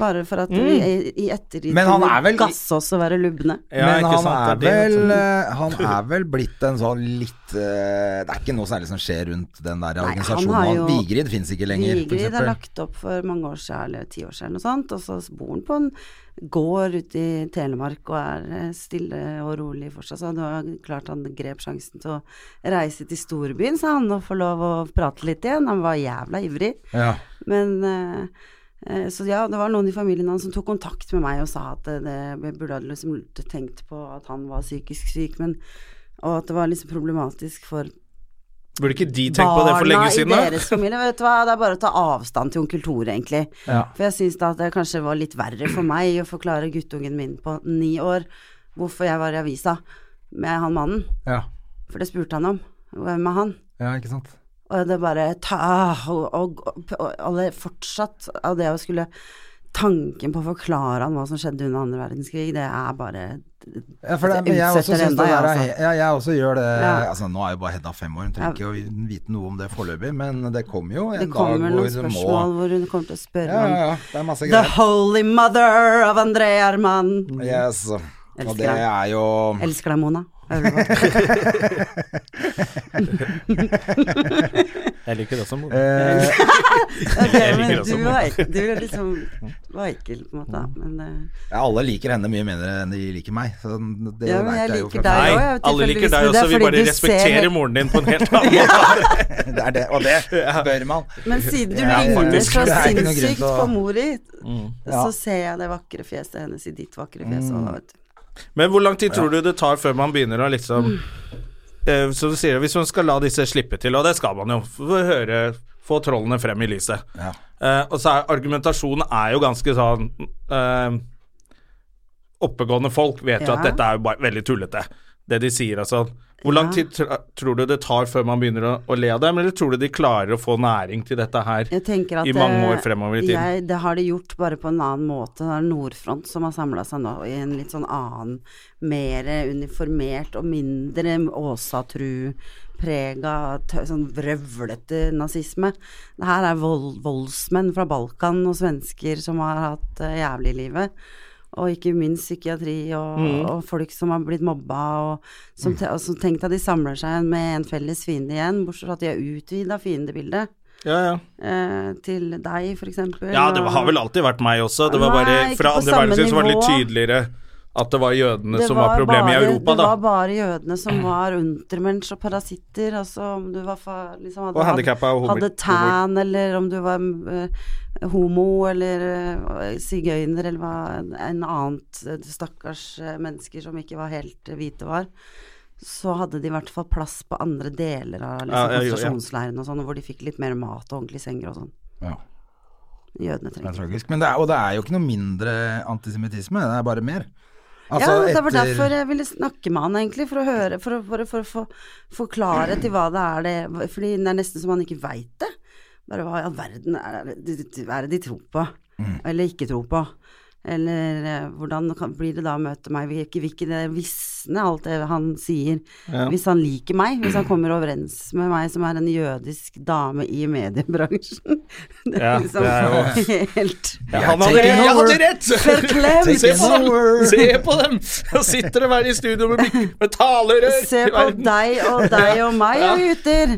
Speaker 4: Bare for at vi i- i ettertid
Speaker 1: Men han
Speaker 4: kunne
Speaker 1: er vel-
Speaker 4: gasse oss og være lubne.
Speaker 2: Ja,
Speaker 1: Men
Speaker 2: ikke
Speaker 1: han,
Speaker 2: sant,
Speaker 1: er
Speaker 2: det er det,
Speaker 1: vel,
Speaker 2: vet
Speaker 1: eh, han er vel blitt en sånn litt eh, Det er ikke noe særlig som skjer rundt den der
Speaker 4: han
Speaker 1: organisasjonen.
Speaker 4: har jo-
Speaker 1: Han- Vigrid fins ikke lenger, for
Speaker 4: Vigrid er
Speaker 1: eksempel.
Speaker 4: lagt opp for mange år siden, eller ti år siden, eller noe sånt, og så bor han på en gård ute i Telemark og er eh, stille og rolig for seg. Så det var klart han grep sjansen til å reise til storbyen, sa han, og få lov å prate litt igjen. Han var jævla ivrig.
Speaker 1: Ja.
Speaker 4: Men eh, eh, Så ja, det var noen i familien hans som tok kontakt med meg og sa at eh, det, jeg burde ha liksom tenkt på at han var psykisk syk, men og at det var liksom problematisk for
Speaker 2: Burde ikke de tenkt på det for
Speaker 4: barna
Speaker 2: lenge
Speaker 4: i
Speaker 2: siden, da?
Speaker 4: deres familie. Vet du hva, det er bare å ta avstand til onkel Tore, egentlig.
Speaker 1: Ja.
Speaker 4: For jeg syns da at det kanskje var litt verre for meg å forklare guttungen min på ni år hvorfor jeg var i avisa med han mannen,
Speaker 1: Ja.
Speaker 4: for det spurte han om. Hvem er han?
Speaker 1: ja, ikke sant.
Speaker 4: Og det bare ta, og, og, og alle fortsatt av det å skulle tanken på å forklare han hva som skjedde under andre verdenskrig, det er bare
Speaker 1: Ja, for det,
Speaker 4: Det
Speaker 1: men jeg, også
Speaker 4: Altså,
Speaker 1: synes
Speaker 4: utsetter
Speaker 1: det
Speaker 4: enda,
Speaker 1: der, er
Speaker 4: altså.
Speaker 1: he- ja, jeg også gjør det
Speaker 4: Ja.
Speaker 1: altså, Nå er jo bare Hedda fem år, hun trenger ikke å vite noe om det foreløpig, men det kommer jo en
Speaker 4: Det kommer
Speaker 1: dag
Speaker 4: noen
Speaker 1: hvor det må
Speaker 4: spørsmål hvor hun kommer til å spørre
Speaker 1: Ja, ja,
Speaker 4: om
Speaker 1: ja. Det er masse
Speaker 4: The
Speaker 1: greier.
Speaker 4: Holy Mother of André Arman.
Speaker 1: Yes. Og
Speaker 4: Elsker
Speaker 1: det
Speaker 4: deg.
Speaker 1: er jo
Speaker 4: Elsker deg, Mona. Hører du hva?
Speaker 2: Jeg liker det også.
Speaker 1: eh,
Speaker 4: Ok,
Speaker 2: Jeg liker
Speaker 4: men
Speaker 2: også
Speaker 4: du
Speaker 2: Mona.
Speaker 4: var, du var liksom var ekkel, på en måte. Men, eh,
Speaker 1: ja, Alle liker henne mye mindre enn de liker meg. Så det
Speaker 4: Ja, men
Speaker 1: vet
Speaker 4: jeg
Speaker 1: jeg jo
Speaker 4: liker
Speaker 1: fra
Speaker 4: deg.
Speaker 1: før.
Speaker 2: Nei,
Speaker 4: jo, jeg er
Speaker 2: alle liker
Speaker 4: tilfeldigvis
Speaker 2: deg
Speaker 4: med
Speaker 2: også.
Speaker 4: det,
Speaker 2: Vi
Speaker 4: fordi
Speaker 2: bare
Speaker 4: du
Speaker 2: respekterer
Speaker 4: ser-
Speaker 2: moren din på en helt annen måte.
Speaker 1: Det er det, og det bør man.
Speaker 4: men siden du
Speaker 1: Ja,
Speaker 4: ligner
Speaker 1: faktisk.
Speaker 4: så
Speaker 1: Det er ikke noen grunn
Speaker 4: sinnssykt
Speaker 1: til å- Mm.
Speaker 4: på mor di,
Speaker 1: Ja. Mm.
Speaker 4: så ser jeg det vakre fjeset hennes i ditt vakre fjes. og da, vet du.
Speaker 2: Men hvor lang tid tror du det tar før man begynner å
Speaker 4: Mm.
Speaker 2: liksom Eh, Så du sier, hvis man skal la disse slippe til, og det skal man jo, få høre Få trollene frem i lyset.
Speaker 1: Ja.
Speaker 2: Eh, og så er argumentasjonen er jo ganske sånn eh, Oppegående folk vet jo
Speaker 4: Ja.
Speaker 2: at dette er jo bare veldig tullete, det de sier og sånn. Hvor lang
Speaker 4: Ja.
Speaker 2: tid tr- tror du det tar før man begynner å, å le av dem, eller tror du de klarer å få næring til dette her?
Speaker 4: Jeg tenker at
Speaker 2: I mange
Speaker 4: eh,
Speaker 2: år fremover i tiden.
Speaker 4: Jeg, det har de gjort bare på en annen måte. Det er Nordfront som har samla seg nå i en litt sånn annen, mer uniformert og mindre Åsatru-prega, tø- sånn vrøvlete nazisme. Det her er vold, voldsmenn fra Balkan og svensker som har hatt eh, jævlig i livet. Og ikke minst psykiatri og,
Speaker 2: Mm.
Speaker 4: og folk som har blitt mobba, og som, te, og som tenkte at de samler seg med en felles fiende igjen, bortsett fra at de har utvida fiendebildet
Speaker 2: Ja, ja.
Speaker 4: eh, til deg, for eksempel.
Speaker 2: Ja, det har vel alltid vært meg også. Det var bare
Speaker 4: Nei, ikke
Speaker 2: Fra
Speaker 4: på
Speaker 2: andre
Speaker 4: samme
Speaker 2: verdenskrig så var det litt
Speaker 4: nivå.
Speaker 2: tydeligere at det var jødene
Speaker 4: Det
Speaker 2: som var problemet
Speaker 4: bare,
Speaker 2: i Europa,
Speaker 4: Det
Speaker 2: da.
Speaker 4: var bare jødene som var untermensch og parasitter, altså om du var fa, liksom hadde,
Speaker 2: Og handikappa og homo-
Speaker 4: hadde tan, eller om du var eh, homo, eller eh, sigøyner, eller hva en annet eh, stakkars eh, mennesker som ikke var helt eh, hvite var. Så hadde de i hvert fall plass på andre deler av
Speaker 2: Ja,
Speaker 4: liksom,
Speaker 2: ja, jo, ja.
Speaker 4: konsentrasjonsleirene og sånn, hvor de fikk litt mer mat og ordentlige senger og sånn.
Speaker 1: Ja,
Speaker 4: Jødene
Speaker 1: det er
Speaker 4: trenger
Speaker 1: tragisk. Men det er, og det er jo ikke noe mindre antisemittisme, det er bare mer. Altså,
Speaker 4: ja, det var
Speaker 1: etter-
Speaker 4: derfor jeg ville snakke med han, egentlig. For å høre, for å, for å, for å, få- forklare til hva det er det Fordi det er nesten så man ikke veit det. Bare hva i all verden er det, de- de- er det de tror på? Eller ikke tror på? Eller eh, hvordan kan, blir det da å møte meg? Vil ikke, vil ikke det visne, alt det han sier? Hvis han liker meg, hvis han kommer overens med meg som er en jødisk dame i mediebransjen. Det er
Speaker 2: Ja,
Speaker 4: liksom
Speaker 2: det
Speaker 4: helt
Speaker 2: Ja, han hadde
Speaker 1: Take
Speaker 2: rett!
Speaker 1: it
Speaker 2: Jeg hadde
Speaker 1: over.
Speaker 2: rett!
Speaker 4: Forklemt!
Speaker 2: Se på dem!
Speaker 1: over.
Speaker 2: Se på dem! Så sitter de her i studio med, mik- med talerør
Speaker 4: Se
Speaker 2: til
Speaker 4: på
Speaker 2: verden.
Speaker 4: deg og deg og meg, ja. gutter.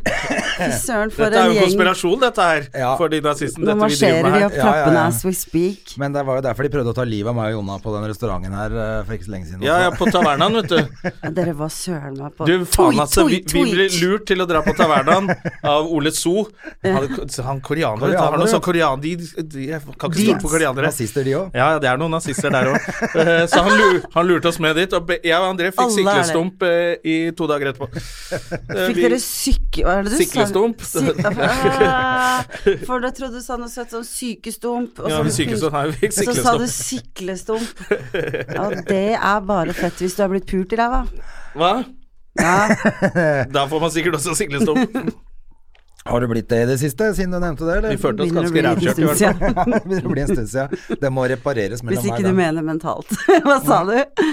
Speaker 4: Fy søren, for
Speaker 2: Dette er
Speaker 4: en
Speaker 2: jo
Speaker 4: gjeng.
Speaker 2: konspirasjon, dette her,
Speaker 1: Ja.
Speaker 2: for de nazistene.
Speaker 4: Nå
Speaker 2: Dette vi driver
Speaker 4: marsjerer
Speaker 2: med
Speaker 4: de
Speaker 2: her.
Speaker 4: opp
Speaker 1: Ja, ja, ja.
Speaker 4: trappene as we speak.
Speaker 1: Men det var jo derfor de prøvde å ta livet av meg og Jonna på den restauranten her eh, for ikke så lenge siden.
Speaker 2: Ja, ja,
Speaker 1: også.
Speaker 2: på tavernaen, vet du.
Speaker 4: Ja, Dere var søren meg på
Speaker 2: Du, faen
Speaker 4: Tweet,
Speaker 2: altså. Vi,
Speaker 4: tweet,
Speaker 2: vi ble
Speaker 4: tweet.
Speaker 2: lurt til å dra på tavernaen av Ole So. Han, han koreaner, vet du. Han var noe sånn korean... De, de, jeg kan ikke stole på koreanere.
Speaker 1: Rasister, de òg.
Speaker 2: Ja, ja, det er noen nazister der òg. Så han, lu- han lurte oss med dit. Og be- jeg og André fikk
Speaker 4: Alle er der.
Speaker 2: syklestump eh, i to dager etterpå. Eh,
Speaker 4: Fikk
Speaker 2: vi-
Speaker 4: dere syke... Hva er det du sa?
Speaker 2: Syklestump.
Speaker 4: Sy- Ah, For da trodde du sa noe søtt sånn sykestump. og
Speaker 2: ja,
Speaker 4: så-
Speaker 2: vi syklestump, nei, vi fikk
Speaker 4: Så sa du
Speaker 2: syklestump.
Speaker 4: syklestump. Ja, det er bare fett hvis du er blitt pult i ræva.
Speaker 2: Hva?
Speaker 4: Ja,
Speaker 2: Da får man sikkert også syklestump.
Speaker 1: Har du blitt det i det siste, siden du nevnte
Speaker 2: Vi
Speaker 1: det? Eller?
Speaker 2: følte oss
Speaker 4: begynner å
Speaker 2: ganske rævkjørte,
Speaker 4: bli litt
Speaker 2: i hvert fall.
Speaker 4: distansert.
Speaker 1: det begynner å bli en stund siden. Det må repareres mellom
Speaker 4: Hvis ikke du
Speaker 1: hver gang.
Speaker 4: mener mentalt. Hva sa du?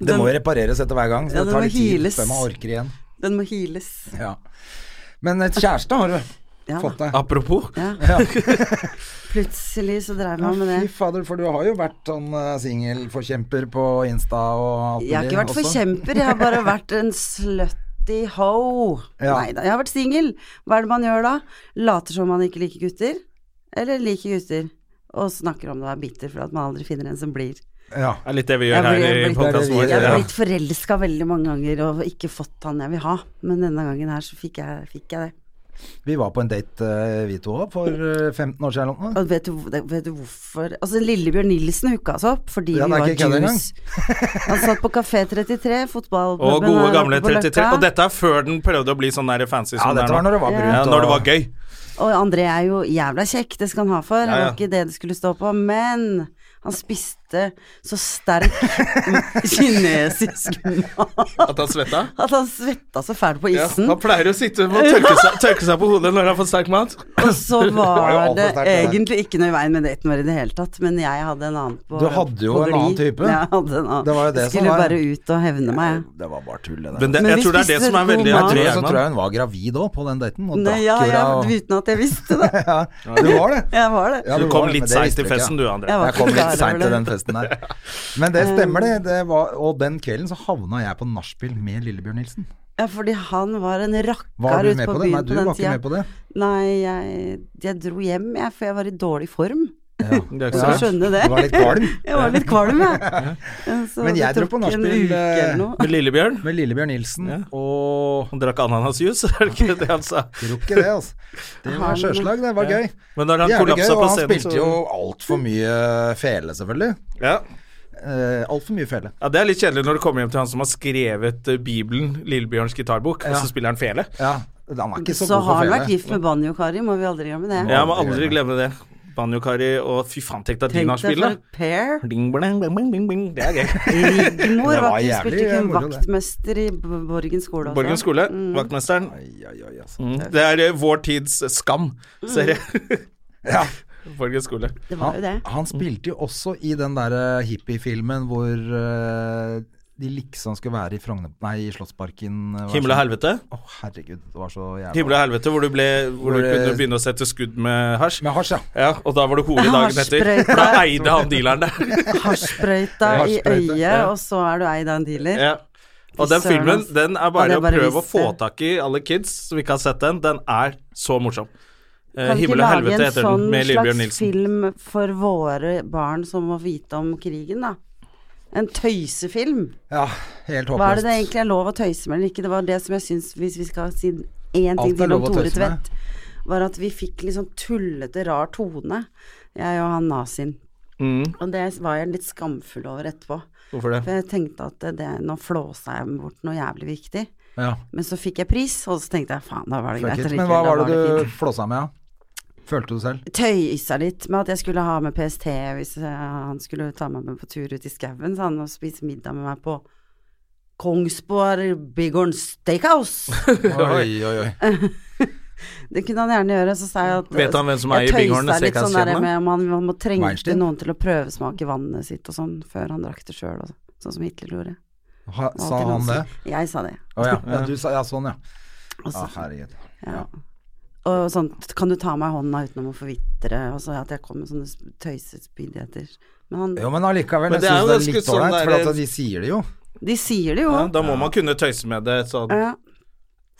Speaker 1: Det må repareres etter hver gang, så
Speaker 4: Ja,
Speaker 1: det
Speaker 4: det
Speaker 1: tar
Speaker 4: må
Speaker 1: litt tid
Speaker 4: heales.
Speaker 1: før man orker igjen.
Speaker 4: Den må heales.
Speaker 1: Ja. Men et kjæreste har du
Speaker 4: Ja,
Speaker 1: fått deg.
Speaker 2: Apropos.
Speaker 4: Ja. Plutselig så drev man med
Speaker 1: Fy
Speaker 4: det.
Speaker 1: fader, for du har jo vært sånn eh, singelforkjemper på Insta og alt
Speaker 4: Jeg har ikke vært
Speaker 1: også.
Speaker 4: forkjemper, jeg har bare vært en slutty ho.
Speaker 1: Ja.
Speaker 4: Nei da, jeg har vært singel. Hva er det man gjør da? Later som man ikke liker gutter, eller liker gutter. Og snakker om det og er bitter for at man aldri finner en som blir.
Speaker 1: Ja.
Speaker 2: Det er litt det vi
Speaker 4: Jeg
Speaker 2: gjør her
Speaker 4: blir-
Speaker 2: i
Speaker 4: jeg blir-
Speaker 2: podkasten
Speaker 1: det er det vi
Speaker 2: vår.
Speaker 4: Jeg har
Speaker 1: Ja.
Speaker 2: Ja.
Speaker 4: blitt forelska veldig mange ganger og ikke fått han jeg vil ha, men denne gangen her så fikk jeg, fikk jeg det.
Speaker 1: Vi var på en date, eh, vi to òg, for eh, 15 år siden eller noe.
Speaker 4: Og vet du, hvor- vet du hvorfor Altså, Lillebjørn Nilsen hooka oss opp fordi
Speaker 1: Ja,
Speaker 4: vi
Speaker 1: det er
Speaker 4: var
Speaker 1: ikke kødd engang.
Speaker 4: juice. Han satt på Kafé 33, fotballklubben
Speaker 2: Og gode
Speaker 4: her
Speaker 2: gamle
Speaker 4: oppe på
Speaker 2: 33.
Speaker 4: Løkka.
Speaker 2: Og dette er før den prøvde å bli sånn der fancy
Speaker 1: eh, Ja,
Speaker 2: som det
Speaker 1: dette
Speaker 2: er
Speaker 1: var
Speaker 2: nå.
Speaker 1: når det var brunt.
Speaker 2: Ja, når det
Speaker 1: og-
Speaker 2: var gøy.
Speaker 4: Og André er jo jævla kjekk, det skal han ha for. Det
Speaker 2: Ja, ja.
Speaker 4: var ikke det det skulle stå på. Men han spiste lukte så sterk kinesisk mat
Speaker 2: At han svetta?
Speaker 4: at han svetta så fælt på
Speaker 2: Ja,
Speaker 4: isen.
Speaker 2: han pleier å sitte og tørke seg, tørke seg på hodet når han får sterk mat.
Speaker 4: Og så
Speaker 1: var jo
Speaker 4: var
Speaker 1: alt
Speaker 4: det
Speaker 1: for sterkt, det der.
Speaker 4: egentlig ikke noe i veien med daten vår i det hele tatt, men jeg hadde en annen på
Speaker 1: Du hadde jo
Speaker 4: på
Speaker 1: en
Speaker 4: glid.
Speaker 1: annen type.
Speaker 4: Jeg hadde en annen.
Speaker 1: Det var jo det
Speaker 4: jeg
Speaker 1: som
Speaker 4: skulle
Speaker 1: var-
Speaker 4: bare ut og hevne meg. jeg.
Speaker 1: Det var bare tull, det der.
Speaker 2: Men det,
Speaker 4: Men
Speaker 2: jeg
Speaker 4: vi
Speaker 2: tror det er det
Speaker 4: spiste
Speaker 2: som er veldig
Speaker 1: jeg
Speaker 4: god
Speaker 1: tror,
Speaker 2: André
Speaker 1: jeg, så
Speaker 2: Gjerman.
Speaker 1: tror jeg hun var gravid òg, på den daten. Og
Speaker 4: Nei,
Speaker 1: drakk
Speaker 4: ja,
Speaker 1: jura og
Speaker 4: jeg, uten at jeg visste det.
Speaker 1: ja, Du var det.
Speaker 4: Jeg var det.
Speaker 2: Du
Speaker 1: Ja, det var
Speaker 2: kom
Speaker 1: det, men
Speaker 2: litt
Speaker 1: det
Speaker 2: seint
Speaker 1: visste
Speaker 2: til
Speaker 1: vi ikke.
Speaker 2: festen, du, André.
Speaker 4: Jeg var
Speaker 1: Jeg kom
Speaker 4: ikke klar
Speaker 1: litt
Speaker 4: over
Speaker 1: seint til
Speaker 4: det.
Speaker 1: den festen der. Men det stemmer, det. det var, og den kvelden så havna jeg på nachspiel med Lillebjørn Nilsen.
Speaker 4: Ja, fordi han var en
Speaker 1: Var
Speaker 4: rakkar
Speaker 1: du
Speaker 4: ute
Speaker 1: med
Speaker 4: på
Speaker 1: på det?
Speaker 4: byen
Speaker 1: Nei, du
Speaker 4: på den
Speaker 1: var ikke
Speaker 4: tida.
Speaker 1: med på det.
Speaker 4: Nei, jeg, jeg dro hjem, jeg, for jeg var i dårlig form.
Speaker 2: Det er
Speaker 4: Så
Speaker 2: ikke så rart.
Speaker 4: skjønner det.
Speaker 1: Du var litt kvalm.
Speaker 4: Jeg var litt kvalm, jeg. Så
Speaker 1: Men
Speaker 4: det
Speaker 1: jeg dro
Speaker 4: tok
Speaker 1: på
Speaker 4: en
Speaker 1: nachspiel,
Speaker 4: uke eller
Speaker 1: eh,
Speaker 4: noe.
Speaker 2: Med Lillebjørn.
Speaker 1: Med Lillebjørn Nilsen.
Speaker 2: Ja.
Speaker 1: Og
Speaker 2: Han drakk ananasjuice, er det ikke det han sa?
Speaker 1: Tror ikke det, altså. Det var sjøslag, det var gøy.
Speaker 2: Men når han
Speaker 1: Jævlig gøy,
Speaker 2: kollapsa
Speaker 1: og
Speaker 2: på
Speaker 1: han
Speaker 2: scenen,
Speaker 1: spilte jo altfor mye fele, selvfølgelig.
Speaker 2: ja.
Speaker 1: Eh, altfor mye fele.
Speaker 2: ja, Det er litt kjedelig når du kommer hjem til han som har skrevet eh, Bibelen, Lillebjørns gitarbok, og
Speaker 1: Ja.
Speaker 2: så spiller han fele.
Speaker 1: Ja, han er ikke så,
Speaker 4: Så
Speaker 1: god
Speaker 4: har
Speaker 1: for
Speaker 4: han
Speaker 1: fele.
Speaker 4: vært gift med Banjo-Kari, må vi aldri glemme det.
Speaker 2: Jeg må
Speaker 1: aldri
Speaker 2: aldri
Speaker 1: glemme
Speaker 2: glemme det. Banjo-Kari og fy faen, tenk deg
Speaker 4: Tenk deg for
Speaker 2: Dynarspillet.
Speaker 4: et pair.
Speaker 2: Bling, bling, bling, bling, bling, bling. Det er gøy.
Speaker 4: Rigmor
Speaker 1: Det
Speaker 4: var
Speaker 1: var
Speaker 4: ikke, spilte
Speaker 1: jævlig
Speaker 4: ikke hun
Speaker 1: moro, det.
Speaker 4: vaktmester i B- Borgen skole også?
Speaker 2: Borgen skole, vaktmesteren.
Speaker 1: Ai, ai, ai, altså.
Speaker 2: Mm. Det er eh, vår tids skam, ser jeg.
Speaker 1: Ja.
Speaker 2: Borgen skole.
Speaker 4: Det var
Speaker 1: Han,
Speaker 4: jo det. Mm.
Speaker 1: han spilte jo også i den der eh, hippiefilmen hvor eh, de liksom skulle være i Frogner... Nei, i Slottsparken. eh, hva er
Speaker 2: Himmel og
Speaker 1: det?
Speaker 2: helvete.
Speaker 1: Å, herregud, det var så
Speaker 2: Himmel
Speaker 1: jævla
Speaker 2: og helvete, hvor du, ble, hvor du
Speaker 1: Hvor, eh,
Speaker 2: kunne begynne å sette skudd med hasj.
Speaker 1: Med hasj, ja.
Speaker 2: Ja, Og da var du hore
Speaker 4: Jeg har
Speaker 2: dagen etter. For da eide han dealeren der.
Speaker 4: Hasjsprøyta i
Speaker 1: Hasjsprøyta,
Speaker 4: øyet,
Speaker 2: ja.
Speaker 4: og så er du eid av en dealer.
Speaker 2: Ja. Og den
Speaker 4: Søren,
Speaker 2: filmen
Speaker 4: ass.
Speaker 2: den er
Speaker 4: Hadde
Speaker 2: bare
Speaker 4: jeg
Speaker 2: å
Speaker 4: bare
Speaker 2: prøve å
Speaker 4: visst
Speaker 2: få
Speaker 4: det.
Speaker 2: tak i, alle kids som ikke har sett den. Den er så morsom. Eh,
Speaker 4: Kan vi ikke
Speaker 2: Himmel og
Speaker 4: lage
Speaker 2: helvete
Speaker 4: en
Speaker 2: heter
Speaker 4: sånn
Speaker 2: den, med Lillebjørn
Speaker 4: slags
Speaker 2: Nilsen.
Speaker 4: film for våre barn som må vite om krigen, da? En tøysefilm.
Speaker 1: ja. Helt håpløst.
Speaker 4: Hva er det det egentlig er lov å tøyse med eller ikke? Det var det som jeg syns, hvis vi skal si én ting
Speaker 1: Alt er
Speaker 4: til om
Speaker 1: lov å
Speaker 4: Tore
Speaker 1: tøyse med.
Speaker 4: Tvedt, var at vi fikk litt sånn tullete, rar tone, jeg og han nazien.
Speaker 1: Mm.
Speaker 4: Og det var jeg litt skamfull over etterpå.
Speaker 2: Hvorfor det?
Speaker 4: For jeg tenkte at det, det, nå flåsa jeg bort noe jævlig viktig.
Speaker 1: Ja.
Speaker 4: Men så fikk jeg pris, og så tenkte jeg faen, da var det
Speaker 1: Fuck it.
Speaker 4: greit. allikevel,
Speaker 1: Men hva
Speaker 4: da
Speaker 1: var det
Speaker 4: fint
Speaker 1: du flåsa med, da? Følte du selv?
Speaker 4: tøysa litt med at jeg skulle ha med PST hvis eh, han skulle ta meg med på tur ut i skauen, sa han, og spise middag med meg på Kongsborg Bighorn Steakhouse.
Speaker 1: Oi, oi, oi.
Speaker 4: Det kunne han gjerne gjøre, så sa jeg at
Speaker 2: Vet han hvem som
Speaker 4: jeg
Speaker 2: eier Bighorn
Speaker 4: tøysa litt sånn der
Speaker 2: Steakhouse-kjedene?
Speaker 4: med om han, han må trengte
Speaker 1: Weinstein?
Speaker 4: noen til å prøvesmake vannet sitt og sånn, før han drakk det sjøl, sånn som Hitler gjorde.
Speaker 1: Ha,
Speaker 4: Og
Speaker 1: sa
Speaker 4: alltid
Speaker 1: han det?
Speaker 4: som- Jeg sa det.
Speaker 1: Å ja. ja. Du sa ja, sånn, ja.
Speaker 4: Og
Speaker 1: Å,
Speaker 4: så-
Speaker 1: herregud.
Speaker 4: ja. Og sånn Kan du ta meg i hånda uten å forvitre? Og så at jeg kom med sånne tøysespydigheter. Men han,
Speaker 1: Jo, men allikevel.
Speaker 2: Men
Speaker 1: Jeg
Speaker 2: det er jo
Speaker 1: syns det er
Speaker 2: ganske
Speaker 1: litt
Speaker 2: sånn
Speaker 1: ålreit,
Speaker 2: der-
Speaker 1: for at de sier det jo.
Speaker 4: de sier det jo.
Speaker 2: Ja, da må man kunne tøyse med det, sånn,
Speaker 4: Ja.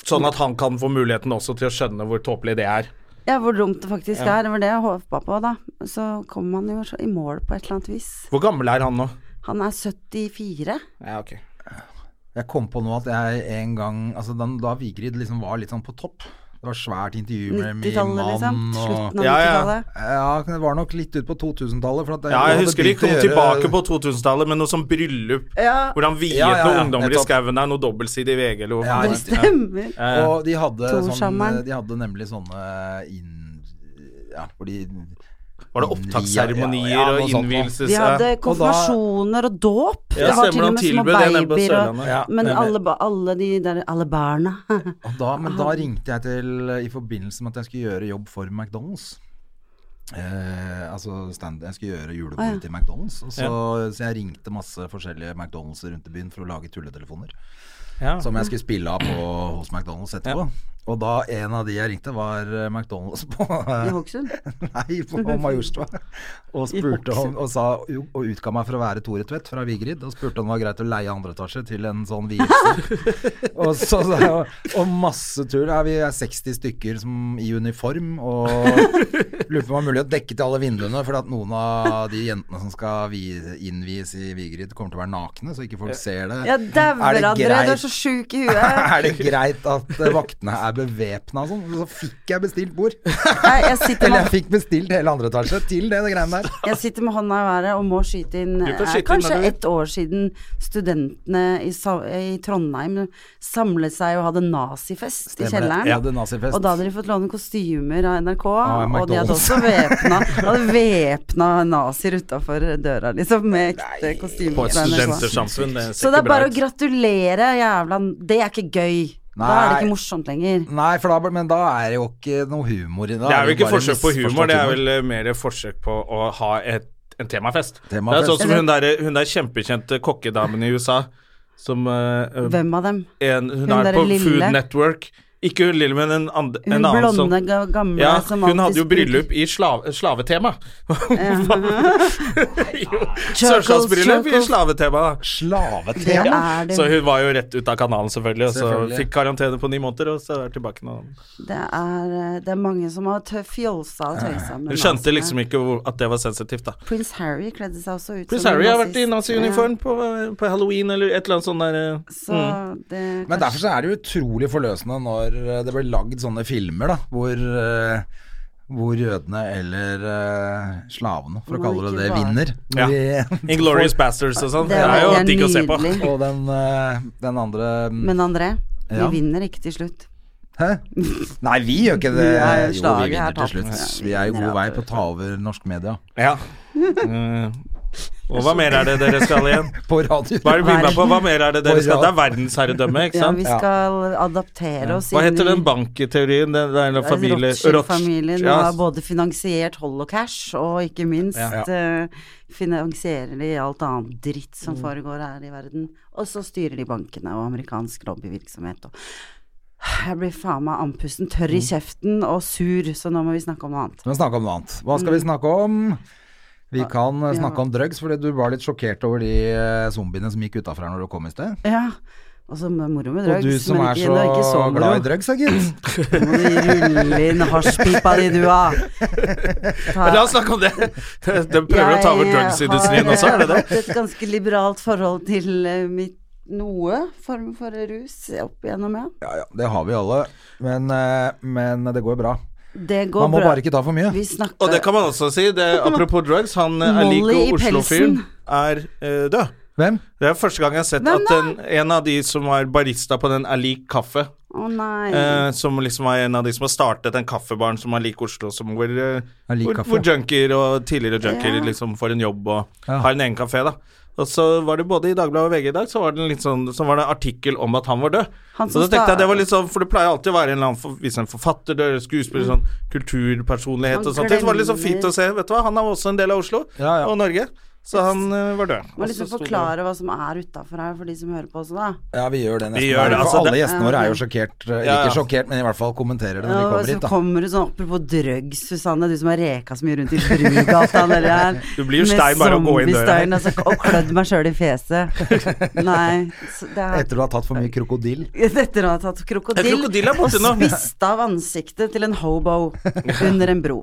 Speaker 2: sånn at han kan få muligheten også til å skjønne hvor tåpelig det er.
Speaker 4: Ja, hvor dumt det faktisk er. Det var det jeg håpa på, da. Så kom han jo så i mål på et eller annet vis.
Speaker 2: Hvor gammel er han nå?
Speaker 4: Han er 74.
Speaker 2: Ja, ok.
Speaker 1: Jeg kom på nå at jeg en gang altså den, Da Vigrid liksom var litt sånn på topp Det var svært intervju med min
Speaker 4: 90-tallet, liksom.
Speaker 1: mann og
Speaker 4: Slutten av
Speaker 2: Ja, ja.
Speaker 4: 90-tallet.
Speaker 1: Ja, det var nok litt ut på 2000-tallet. for at
Speaker 2: Ja,
Speaker 1: hadde
Speaker 2: jeg husker de
Speaker 1: begynt å
Speaker 2: kom
Speaker 1: gjøre-
Speaker 2: tilbake på 2000-tallet med noe sånn bryllup.
Speaker 4: Ja.
Speaker 2: Hvor han viet
Speaker 1: Ja, ja, ja,
Speaker 2: noen ungdommer i
Speaker 1: nettopp.
Speaker 2: skauen der, noe dobbeltside i VG eller
Speaker 1: Ja,
Speaker 2: hva faen
Speaker 4: Det
Speaker 2: det var.
Speaker 4: stemmer.
Speaker 1: Og de hadde, sånn,
Speaker 4: Torshammeren.
Speaker 1: de hadde nemlig sånne inn... Ja, hvor de
Speaker 2: Var det opptaksseremonier
Speaker 1: Ja, ja, noe
Speaker 2: og
Speaker 1: sånt, ja.
Speaker 2: innvielses...
Speaker 4: De hadde
Speaker 1: Og da-
Speaker 4: konfirmasjoner og dåp.
Speaker 2: Ja,
Speaker 4: det var
Speaker 2: stemmer,
Speaker 4: til og
Speaker 2: han
Speaker 4: med små
Speaker 2: tilbød det nede på
Speaker 4: babyer og
Speaker 2: Sørlandet.
Speaker 1: Ja,
Speaker 4: Men
Speaker 1: nemlig.
Speaker 4: alle, ba- alle de der Alle barna.
Speaker 1: og da, Men da ringte jeg til i forbindelse med at jeg skulle gjøre jobb for McDonald's. Eh, altså stand, Jeg skulle gjøre julebordet til McDonald's. Og så, så jeg ringte masse forskjellige McDonald'ser rundt i byen for å lage tulletelefoner.
Speaker 2: Ja.
Speaker 1: Som jeg skulle spille av på hos McDonald's etterpå. Og da en av de jeg ringte, var eh, McDonald's på eh,
Speaker 4: I Hokksund.
Speaker 1: Nei, på Majorstua. Og spurte om, og, sa, og utga meg for å være Tore Tvedt fra Vigrid, og spurte om det var greit å leie andre etasje til en sånn vielse. og, så, sa jeg, og masse tull. Ja, vi er 60 stykker som, i uniform, og lurte på om det var mulig å dekke til alle vinduene, for at noen av de jentene som skal vi, innvies i Vigrid, kommer til å være nakne, så ikke folk ser det.
Speaker 4: Ja, dæver,
Speaker 1: Er det
Speaker 4: André, du er
Speaker 1: greit
Speaker 4: så så sjuk i huet.
Speaker 1: Er det greit at eh, vaktene er bevæpna og sånn? Så fikk jeg bestilt bord.
Speaker 4: Nei, jeg sitter,
Speaker 1: Eller jeg
Speaker 4: med,
Speaker 1: fikk bestilt hele andre etasje til det, det greiene der.
Speaker 4: jeg sitter med hånda i været og må skyte inn
Speaker 2: Du kan
Speaker 4: eh,
Speaker 2: skyte inn
Speaker 4: Kanskje
Speaker 2: når du vil.
Speaker 4: ett år siden studentene i, Sa- i Trondheim samlet seg og hadde nazifest i
Speaker 1: Stemmer det.
Speaker 4: kjelleren.
Speaker 1: Ja, det er nazifest.
Speaker 4: Og da hadde de fått låne kostymer av NRK,
Speaker 1: Av
Speaker 4: og de hadde
Speaker 1: McDonald's.
Speaker 4: også væpna de hadde væpna nazier utafor døra, liksom, med ekte
Speaker 2: På
Speaker 4: kostymer
Speaker 2: et
Speaker 4: fra NRK.
Speaker 2: studentersamfunn. Det
Speaker 4: Så
Speaker 2: ser ikke
Speaker 4: det er
Speaker 2: bra
Speaker 4: bare å
Speaker 2: ut.
Speaker 4: gratulere, jævla Det er ikke gøy. Da er det
Speaker 1: Nei.
Speaker 4: ikke morsomt lenger.
Speaker 1: Nei, for da, men da er det jo ikke noe humor i det.
Speaker 2: Det er jo ikke
Speaker 1: bare
Speaker 2: forsøk på humor,
Speaker 1: misforstått
Speaker 2: det er vel eh, mer forsøk på å ha et, en temafest.
Speaker 1: Temafest.
Speaker 2: Det er sånn som hun der, hun der kjempekjente kokkedamen i USA som eh,
Speaker 4: Hvem av dem?
Speaker 2: en, Hun,
Speaker 4: Hun
Speaker 2: er
Speaker 4: der
Speaker 2: på
Speaker 4: lille?
Speaker 2: Food Network. Ikke hun lille, men en, and,
Speaker 4: Hun
Speaker 2: en annen
Speaker 4: blonde,
Speaker 2: sånn
Speaker 4: ga- gamle
Speaker 2: ja,
Speaker 4: som
Speaker 2: Hun hadde
Speaker 4: alltid
Speaker 2: jo bryllup i slav, slavetema. Jo, Sørstadens bryllup i
Speaker 4: chuckles.
Speaker 2: slavetema. da.
Speaker 4: Det
Speaker 1: Slavetema.
Speaker 4: er det,
Speaker 2: Så hun var jo rett ut av kanalen, selvfølgelig, og
Speaker 1: Selvfølgelig.
Speaker 2: så fikk karantene på ni måneder, og så er hun tilbake nå.
Speaker 4: det, er, eh, det er mange som har tø- fjolsa og tøysa med
Speaker 2: Hun skjønte liksom ikke hvor, at det var sensitivt, da.
Speaker 4: Prins Harry kledde seg også ut
Speaker 2: Prince
Speaker 4: som en
Speaker 2: Harry har vært i
Speaker 4: nazist.
Speaker 2: naziuniform på, på halloween eller et eller annet sånt der eh.
Speaker 4: Ja, så det
Speaker 1: Men derfor så er det jo utrolig forløsende når eh, det blir lagd sånne filmer, da, hvor eh, hvor jødene eller eh, slavene, for å
Speaker 4: Man
Speaker 1: kalle det det,
Speaker 4: ikke bare-
Speaker 1: vinner.
Speaker 2: Ja.
Speaker 1: Vi-
Speaker 2: Inglorious Bastards og sånn.
Speaker 4: Det
Speaker 2: Det er
Speaker 4: er-
Speaker 2: jo
Speaker 4: det er
Speaker 2: digg å se på.
Speaker 4: nydelig.
Speaker 1: Og den, eh, den andre
Speaker 4: Men André, vi
Speaker 1: Ja.
Speaker 4: vinner ikke til slutt.
Speaker 1: Hæ? Nei, vi gjør ikke det.
Speaker 4: Nei,
Speaker 1: jo, vi
Speaker 4: slaget er
Speaker 1: vinner til
Speaker 4: tapt.
Speaker 1: slutt.
Speaker 4: Ja,
Speaker 1: Vi er i
Speaker 4: vi
Speaker 1: god
Speaker 4: vinner
Speaker 1: vei
Speaker 4: alt.
Speaker 1: på å ta over norsk media.
Speaker 2: Ja. Eh, og hva mer er det dere skal igjen?
Speaker 1: På radio.
Speaker 2: Hva er det vi med på? Hva mer er det dere skal? Det er verdensherredømme, ikke
Speaker 4: Ja,
Speaker 2: sant?
Speaker 4: vi skal adaptere oss
Speaker 2: Hva heter
Speaker 4: i-
Speaker 2: den bankteorien? Den der
Speaker 4: Det er
Speaker 2: familie
Speaker 4: Rothschild-familien
Speaker 2: Ja,
Speaker 4: har både finansiert holocash, og ikke minst eh, finansierer de alt annet dritt som
Speaker 1: Mm.
Speaker 4: foregår her i verden. Og så styrer de bankene og amerikansk lobbyvirksomhet og Jeg blir faen meg andpusten, tørr
Speaker 1: Mm.
Speaker 4: i kjeften og sur, så nå må vi snakke om noe annet.
Speaker 1: Vi må snakke om noe annet. Hva skal
Speaker 4: Mm.
Speaker 1: vi snakke om? Vi kan eh, snakke om drugs, fordi du var litt sjokkert over de eh, zombiene som gikk utafor her når du kom i sted.
Speaker 4: Ja. Og så med moro med
Speaker 1: Og
Speaker 4: drugs,
Speaker 1: du som
Speaker 4: men
Speaker 1: er
Speaker 4: ikke,
Speaker 1: så,
Speaker 4: det er ikke så moro.
Speaker 1: glad i drugs, da, gitt.
Speaker 4: Nå må du rulle inn hasjpipa di, du, da. Ta-
Speaker 2: La oss snakke om det! De prøver å ta over
Speaker 4: Jeg
Speaker 2: drugsindustrien
Speaker 4: har,
Speaker 2: også, er det det?
Speaker 4: hatt et ganske liberalt forhold til eh, mitt noe form for rus opp igjennom, ja.
Speaker 1: Ja, ja, det har vi alle. Men, eh, men det går bra.
Speaker 4: Det går
Speaker 1: Man må
Speaker 4: bra.
Speaker 1: bare ikke ta for mye.
Speaker 4: Vi snakker
Speaker 2: Og det kan man også si. Det, apropos drugs, han eh, er
Speaker 4: Molly
Speaker 2: lik
Speaker 4: i
Speaker 2: Oslo-fyren
Speaker 4: pelsen.
Speaker 2: er eh, død.
Speaker 1: Hvem?
Speaker 2: Det er første gang jeg har sett
Speaker 4: Hvem
Speaker 2: at
Speaker 4: da?
Speaker 2: den, en av de som var barista på den er lik kaffe.
Speaker 4: Å nei.
Speaker 2: Eh, som liksom var en av de som har startet den kaffebaren som er lik Oslo, som hvor, eh,
Speaker 1: Er lik
Speaker 2: hvor,
Speaker 1: kaffe.
Speaker 2: hvor junkier og tidligere junkier liksom får en jobb og
Speaker 1: Ja.
Speaker 2: har en egen kafé, da. Og så var det både i Dagbladet og VG i dag, så var det en litt sånn, så var det en artikkel om at han var død.
Speaker 4: Han
Speaker 2: Så
Speaker 4: som
Speaker 2: da tenkte
Speaker 4: sta-
Speaker 2: jeg det var litt sånn, for det pleier alltid å være en eller annen for, hvis en forfatter dør, skuespiller, sånn kulturpersonlighet
Speaker 4: Mm. Han
Speaker 2: og sånt, så var det litt sånn
Speaker 4: glemmer-
Speaker 2: fint å se, vet du hva, han er også en del av Oslo
Speaker 1: Ja, ja.
Speaker 2: og Norge, så han eh, var død.
Speaker 4: Må
Speaker 2: Og
Speaker 4: liksom
Speaker 2: så sto det-
Speaker 4: forklare hva som er utafor her, for de som hører på også, da.
Speaker 1: Ja, vi gjør det nesten.
Speaker 2: Vi gjør det,
Speaker 1: hver-
Speaker 2: altså,
Speaker 1: for alle
Speaker 2: det-
Speaker 1: gjestene våre er jo sjokkert. eh, Eller
Speaker 2: Ja, ja.
Speaker 1: ikke sjokkert, men i hvert fall kommenterer det når
Speaker 4: Ja,
Speaker 1: vi
Speaker 4: og
Speaker 1: kommer
Speaker 4: så
Speaker 1: hit. Da.
Speaker 4: kommer du sånn apropos drugs, Susanne, du som har reka så mye rundt i Brugata nedi her.
Speaker 2: Du blir jo stein bare å gå inn døra.
Speaker 4: Med zombiestein altså, og klødd meg sjøl i fjeset. Nei. Så det er
Speaker 1: Etter du har tatt for mye krokodille.
Speaker 4: Dette har tatt
Speaker 2: Ja,
Speaker 4: krokodill,
Speaker 2: krokodill er
Speaker 4: og
Speaker 2: borte nå.
Speaker 4: altså. spist av ansiktet til en hobo under en bro.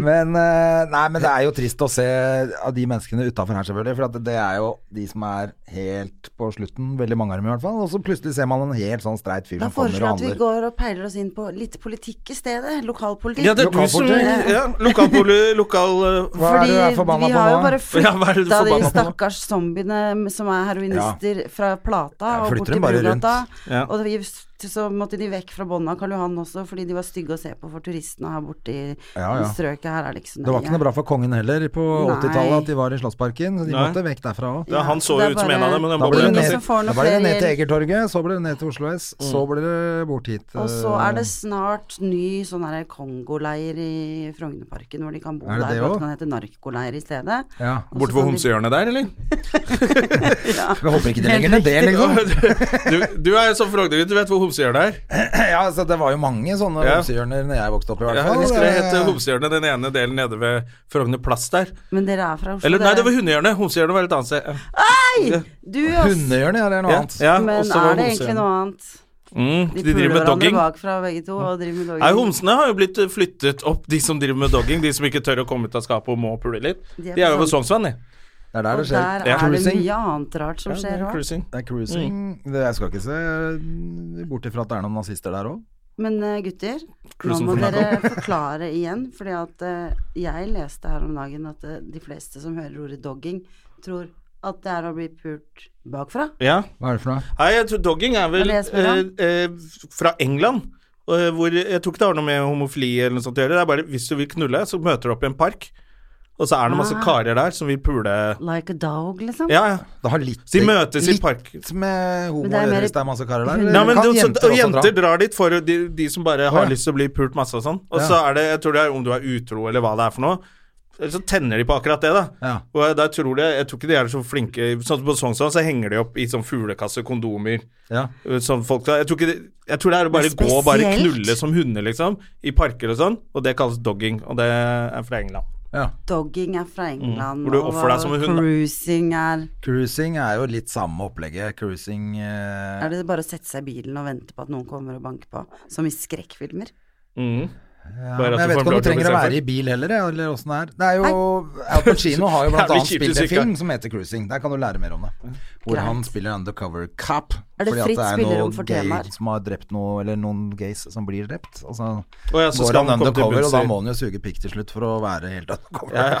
Speaker 1: Men, eh, nei, men det er jo trist å se av de menneskene utafor her, selvfølgelig. For at det er jo de som er helt på slutten, veldig mange av dem i hvert fall. Og så plutselig ser man en helt sånn streit fyr
Speaker 4: Da
Speaker 1: som kommer
Speaker 4: foreslår jeg
Speaker 1: og
Speaker 4: at vi
Speaker 1: handler.
Speaker 4: går og peiler oss inn på litt politikk i stedet. Lokalpolitikk. Eh,
Speaker 2: Ja, det er du som
Speaker 1: Lokalpolitikk.
Speaker 2: ja, Lokalpoli... Lokal... eh,
Speaker 1: Hva er
Speaker 4: Fordi
Speaker 1: det du er forbanna
Speaker 4: vi
Speaker 1: på
Speaker 4: har jo
Speaker 1: nå?
Speaker 4: bare
Speaker 2: Ja, hva er det du
Speaker 4: flytta
Speaker 2: er
Speaker 4: de
Speaker 2: forbanna på nå?
Speaker 4: stakkars zombiene som er heroinister fra Plata
Speaker 1: Ja,
Speaker 4: og
Speaker 1: flytter
Speaker 4: bort til
Speaker 1: dem bare rundt.
Speaker 4: Brugata.
Speaker 2: Ja.
Speaker 4: Og vi- så måtte de vekk fra bånda av Karl Johan også, fordi de var stygge å se på for turistene her borte i
Speaker 1: Ja, ja.
Speaker 4: strøket. Her er det ikke så nøye.
Speaker 1: Det var ikke noe bra for kongen heller på
Speaker 4: Nei.
Speaker 1: 80-tallet at de var i Slottsparken. så De
Speaker 2: Nei.
Speaker 1: måtte vekk derfra òg.
Speaker 2: Ja, han så
Speaker 4: det er
Speaker 2: jo ut som en
Speaker 4: bare-
Speaker 2: av dem, men han
Speaker 1: Da
Speaker 2: bare
Speaker 1: ble det
Speaker 4: ingen
Speaker 2: ble
Speaker 1: ned,
Speaker 4: som får noe
Speaker 1: da ble det
Speaker 4: flere
Speaker 1: ned til
Speaker 4: hjelp.
Speaker 1: Egertorget, så ble det ned til Oslo S, så ble det bort hit.
Speaker 4: Og så er det snart ny sånn her Kongoleir i Frognerparken, hvor de kan bo
Speaker 1: Er det
Speaker 4: der.
Speaker 1: det
Speaker 4: bare
Speaker 1: også?
Speaker 4: at Det kan hete narkoleir i stedet.
Speaker 1: ja.
Speaker 2: Borte ved homsehjørnet der, eller?
Speaker 1: Vi eh, håper ikke de legger ned det, liksom.
Speaker 2: Du, du er jo sånn frogner, du vet hvor homsehjørnet er?
Speaker 1: Ja, så det var jo mange sånne
Speaker 2: Ja.
Speaker 1: homsehjørner når jeg vokste opp, i
Speaker 2: Ja,
Speaker 1: hvert fall. Eh,
Speaker 2: det skulle hete
Speaker 1: Det-
Speaker 2: Homsehjørnet, den ene delen nede ved Frogner plass der.
Speaker 4: Men dere er fra Oslo?
Speaker 2: Eller nei,
Speaker 4: dere.
Speaker 2: det var hundehjørnet. Homsehjørnet var et annet sted.
Speaker 4: Nei! Du, ass.
Speaker 1: Hundehjørnet, ja, det er noe
Speaker 2: Ja,
Speaker 1: annet.
Speaker 2: ja,
Speaker 4: Men
Speaker 2: og så var
Speaker 4: er det egentlig
Speaker 2: homsehjørnet.
Speaker 4: noe annet?
Speaker 2: Mm,
Speaker 4: De,
Speaker 2: de driver med dogging.
Speaker 4: bakfra begge to og driver med dogging.
Speaker 2: Nei, homsene har jo blitt eh, flyttet opp, de som driver med dogging. De som ikke tør å komme ut av skapet og må pule litt.
Speaker 4: De er
Speaker 2: De er jo
Speaker 4: på sånn
Speaker 2: ved Sognsvann, de.
Speaker 1: Det er der
Speaker 4: Og
Speaker 1: det skjer.
Speaker 4: der
Speaker 2: Ja.
Speaker 4: er det
Speaker 1: Cruising.
Speaker 4: mye annet rart som skjer òg.
Speaker 2: cruising.
Speaker 1: Det er cruising. Det, jeg skal ikke se mm, bort ifra at det er noen nazister der òg.
Speaker 4: Men eh, gutter, nå
Speaker 2: Cruising
Speaker 4: må
Speaker 2: for
Speaker 4: dere forklare igjen, fordi at eh, jeg leste her om dagen at eh, de fleste som hører ordet dogging, tror at det er å bli pult bakfra.
Speaker 2: Ja.
Speaker 1: Hva er det for noe?
Speaker 2: Nei, jeg tror dogging er vel
Speaker 4: Hva er det jeg spør om?
Speaker 2: eh, eh, fra England. eh, hvor Jeg tror ikke det har noe med homofili eller noe sånt å gjøre. Det er bare hvis du vil knulle, så møter du opp i en park, og så er det masse
Speaker 4: Ah.
Speaker 2: karer der som vil pule
Speaker 4: Like a dog, liksom.
Speaker 2: Ja, ja.
Speaker 1: Det har litt,
Speaker 2: De møtes i
Speaker 1: litt
Speaker 2: park.
Speaker 1: med homo
Speaker 4: Men det er
Speaker 1: å gjøre
Speaker 4: mer-
Speaker 1: hvis det er masse karer der.
Speaker 4: Nei,
Speaker 2: Nei,
Speaker 1: Eller
Speaker 2: men
Speaker 1: kan
Speaker 2: det, jenter,
Speaker 1: også
Speaker 2: jenter
Speaker 1: dra?
Speaker 2: drar dit for de, de som bare har
Speaker 1: Å, ja.
Speaker 2: lyst til å bli pult masse og sånn. Og
Speaker 1: Ja.
Speaker 2: så er det, jeg tror det er om du er utro eller hva det er for noe, eller så tenner de på akkurat det, da.
Speaker 1: Ja.
Speaker 2: Og da tror jeg, jeg tror ikke de er så flinke Sånn som på Sognsvann så henger de opp i sånn fuglekasse, kondomer
Speaker 1: Ja.
Speaker 2: uh, Sånn folk Jeg tror, ikke det, jeg tror det er å bare
Speaker 4: Men
Speaker 2: gå og bare
Speaker 4: spesielt-
Speaker 2: knulle som hunder, liksom. I parker og sånn. Og det kalles dogging. Og det er fra England.
Speaker 1: ja.
Speaker 4: Dogging er fra England,
Speaker 2: Mm. Hvor du
Speaker 4: og
Speaker 2: offer deg som en hund, da.
Speaker 4: cruising er
Speaker 1: Cruising er jo litt samme opplegget. Cruising eh,
Speaker 4: Er det bare å sette seg i bilen og vente på at noen kommer og banker på, som i skrekkfilmer?
Speaker 2: Mhm. bare
Speaker 1: ja,
Speaker 2: at
Speaker 1: men
Speaker 2: du
Speaker 1: Jeg vet
Speaker 2: får
Speaker 1: ikke om
Speaker 2: blå
Speaker 1: du trenger å
Speaker 2: kropp
Speaker 1: være i bil heller, jeg, eller åssen det er. Det er jo Al Pacino har jo blant
Speaker 2: Jævlig
Speaker 1: annet
Speaker 2: kjipt
Speaker 1: spilt
Speaker 2: hvis
Speaker 1: en
Speaker 2: ikke-
Speaker 1: film som heter Cruising. Der kan du lære mer om det. Hvor
Speaker 4: Greit.
Speaker 1: han spiller undercover cop.
Speaker 4: Er det
Speaker 1: fordi at
Speaker 4: fritt
Speaker 1: er
Speaker 4: spillerom
Speaker 1: noen
Speaker 4: for
Speaker 1: gay
Speaker 4: temaer?
Speaker 1: Som har drept noe, eller noen gays som blir drept. Og så
Speaker 2: Å ja, så
Speaker 1: går
Speaker 2: skal
Speaker 1: han
Speaker 2: han komme til
Speaker 1: undercover, og
Speaker 2: bunns i-
Speaker 1: da må han jo suge pikk til slutt for å være helt undercover.
Speaker 2: Ja, ja.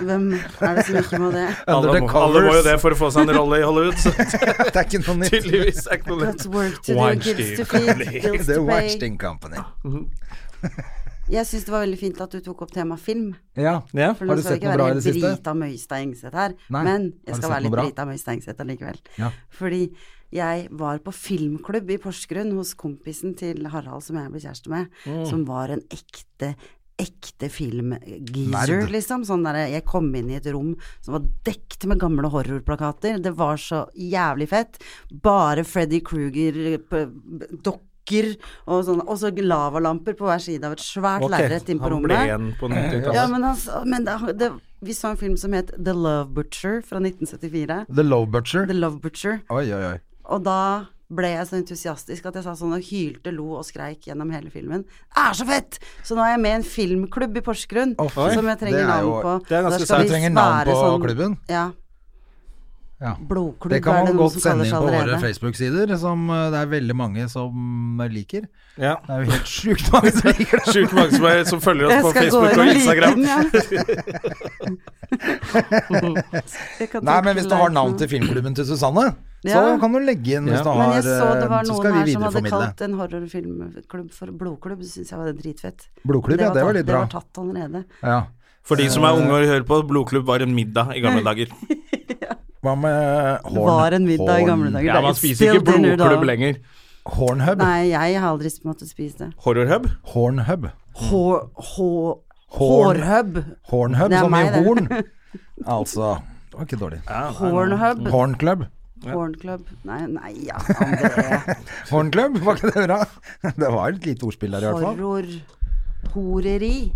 Speaker 4: Hvem er det som ikke må det?
Speaker 2: Alle, må, alle må jo det
Speaker 1: Undercovers.
Speaker 2: for å få seg en rolle i Hollywood, så
Speaker 1: Det er ikke noe nytt.
Speaker 2: tydeligvis er ikke noe
Speaker 4: Got
Speaker 2: lett.
Speaker 4: work to do,
Speaker 2: Weinstein
Speaker 4: gives to feed, bills
Speaker 1: The
Speaker 4: to pay.
Speaker 1: Washington Company.
Speaker 4: Jeg syns det var veldig fint at du tok opp tema film.
Speaker 1: Ja.
Speaker 2: Ja.
Speaker 4: For nå
Speaker 1: Har du
Speaker 4: skal
Speaker 1: sett
Speaker 4: det
Speaker 1: noe
Speaker 4: ikke
Speaker 1: bra i
Speaker 4: være
Speaker 1: det siste?
Speaker 4: Brita Møystad Engseth her,
Speaker 1: Nei.
Speaker 4: men
Speaker 1: Har
Speaker 4: jeg
Speaker 1: du
Speaker 4: skal
Speaker 1: sett
Speaker 4: være
Speaker 1: noe
Speaker 4: litt
Speaker 1: bra?
Speaker 4: Brita Møystad Engseth allikevel.
Speaker 1: Ja.
Speaker 4: Fordi jeg var på filmklubb i Porsgrunn hos kompisen til Harald som jeg ble kjæreste med,
Speaker 1: Mm.
Speaker 4: som var en ekte Ekte filmgeezer,
Speaker 1: Nerd.
Speaker 4: liksom. Sånn der, jeg kom inn i et rom som var dekt med gamle horrorplakater. Det var så jævlig fett. Bare Freddy Kruger-dokker og sånn. Og så lavalamper på hver side av et svært
Speaker 2: Ok,
Speaker 4: lerret inne på
Speaker 2: Han
Speaker 4: rommet.
Speaker 2: ble igjen på 90-tallet.
Speaker 4: Ja, men, altså, men det, det, vi så en film som het The Love Butcher fra 1974.
Speaker 1: The Low Butcher.
Speaker 4: The Love Butcher.
Speaker 1: Oi, oi, oi.
Speaker 4: Og da ble jeg så entusiastisk at jeg sa sånn og hylte, lo og skreik gjennom hele filmen. Det er så fett! Så nå er jeg med i en filmklubb i Porsgrunn
Speaker 1: Å, fy.
Speaker 4: som jeg
Speaker 1: Det
Speaker 4: trenger
Speaker 1: er
Speaker 4: navn
Speaker 1: jo-
Speaker 4: på.
Speaker 2: det er ganske
Speaker 4: Da
Speaker 1: sant.
Speaker 4: vi
Speaker 1: Du trenger navn
Speaker 4: være sånn-
Speaker 1: på klubben?
Speaker 4: Ja.
Speaker 1: Ja.
Speaker 4: Blodklubb
Speaker 1: Det kan
Speaker 4: er det
Speaker 1: man
Speaker 4: noen
Speaker 1: godt
Speaker 4: som
Speaker 1: sende inn
Speaker 4: kaller seg
Speaker 1: på våre
Speaker 4: allerede.
Speaker 1: Facebook-sider, som eh, det er veldig mange som liker.
Speaker 2: Ja.
Speaker 1: Det er jo helt sjukt mange som liker det.
Speaker 2: Sjukt mange som, er, som følger oss
Speaker 4: Jeg
Speaker 2: på
Speaker 4: skal gå
Speaker 2: Facebook
Speaker 4: inn
Speaker 2: og
Speaker 4: og like
Speaker 2: Instagram.
Speaker 4: den, ja. Jeg kan
Speaker 1: Nei,
Speaker 4: trykke
Speaker 1: men hvis du har
Speaker 4: like
Speaker 1: navn
Speaker 4: nå.
Speaker 1: til filmklubben til Susanne, så
Speaker 4: Ja.
Speaker 1: kan du legge inn hvis
Speaker 2: Ja.
Speaker 1: du
Speaker 4: Men
Speaker 1: har
Speaker 4: jeg så det
Speaker 1: eh,
Speaker 4: var
Speaker 1: Så
Speaker 4: noen
Speaker 1: skal vi
Speaker 4: her som hadde
Speaker 1: videreformidle.
Speaker 4: kalt en horrorfilmklubb for blodklubb. Det syns jeg var dritfett.
Speaker 1: Blodklubb, ja, det var
Speaker 4: tatt-
Speaker 1: litt bra.
Speaker 4: Det var tatt allerede.
Speaker 1: Ja.
Speaker 2: For de som er unge og hører på, blodklubb var en middag i gamle dager.
Speaker 1: Hva med
Speaker 4: Det
Speaker 1: horn,
Speaker 4: var en middag i gamle
Speaker 1: horn-
Speaker 4: dager.
Speaker 2: Ja,
Speaker 4: Det er
Speaker 2: Man spiser
Speaker 4: still
Speaker 2: ikke
Speaker 4: dinner, da.
Speaker 2: blodklubb lenger.
Speaker 1: Hornhub?
Speaker 4: Nei, jeg har aldri måttet spise det.
Speaker 2: Horrorhub?
Speaker 1: Hornhub.
Speaker 4: Hår... hår-
Speaker 1: Horn.
Speaker 4: Hårhub.
Speaker 1: Hornhub,
Speaker 4: Det er
Speaker 1: som i
Speaker 4: meg, det.
Speaker 1: horn. Altså Det var ikke dårlig.
Speaker 4: Hornhub.
Speaker 1: Hornclub.
Speaker 4: Hornclub. Nei, nei, ja, André.
Speaker 1: Hornclub, var ikke det bra? Det var et lite ordspill der i hvert fall.
Speaker 4: Horror... Horeri.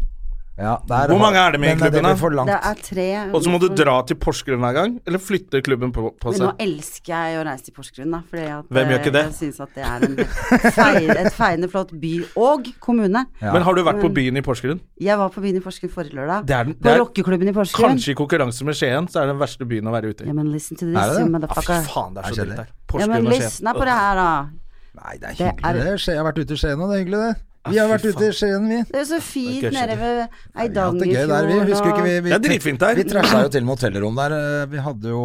Speaker 1: Ja, der
Speaker 2: Hvor
Speaker 1: har-
Speaker 2: mange er det med i
Speaker 1: Men, eh,
Speaker 2: klubben,
Speaker 1: ble
Speaker 2: da?
Speaker 1: for langt.
Speaker 4: Det er tre
Speaker 2: Og så må du dra til Porsgrunn hver gang, eller flytter klubben på, på
Speaker 4: Men nå
Speaker 2: seg.
Speaker 4: elsker jeg å reise til Porsgrunn, da. Fordi at
Speaker 2: Hvem gjør
Speaker 4: eh,
Speaker 2: ikke det?
Speaker 4: Jeg syns at det er en feir, et feiende flott by og kommune.
Speaker 1: Ja.
Speaker 2: Men har du vært
Speaker 4: Mm.
Speaker 2: på byen i Porsgrunn?
Speaker 4: Jeg var på byen i Porsgrunn forrige lørdag.
Speaker 2: Det er den- det
Speaker 4: på
Speaker 2: er-
Speaker 4: rockeklubben i Porsgrunn.
Speaker 2: Kanskje i konkurranse med Skien, så er det den verste byen å være ute i.
Speaker 4: Ja, men listen to
Speaker 1: Er det
Speaker 4: this,
Speaker 1: det?
Speaker 4: you
Speaker 2: Ah, fy
Speaker 4: motherfucker.
Speaker 2: faen, det er
Speaker 1: Er
Speaker 2: så
Speaker 1: det
Speaker 2: dritt
Speaker 1: kjedelig?
Speaker 2: der.
Speaker 4: Ja, men
Speaker 2: Porsgrunn og
Speaker 4: lysna på det
Speaker 2: Skien.
Speaker 4: her, da.
Speaker 1: Nei, det er
Speaker 4: Det
Speaker 1: hyggelig
Speaker 4: er-
Speaker 1: det. Skje- Jeg har vært ute i Skien, og det er hyggelig det. Vi
Speaker 2: Ah, fy
Speaker 1: har vært ute i Skien, vi.
Speaker 4: Det er jo så fint
Speaker 2: Det er
Speaker 4: nede
Speaker 2: gøy,
Speaker 4: ved
Speaker 1: Vi har hatt det gøy
Speaker 4: Eidangerfjorden
Speaker 1: der, vi. Husker ikke vi, vi
Speaker 2: Det er dritfint der.
Speaker 1: Vi trasha jo til med hotellrom der. eh, Vi hadde jo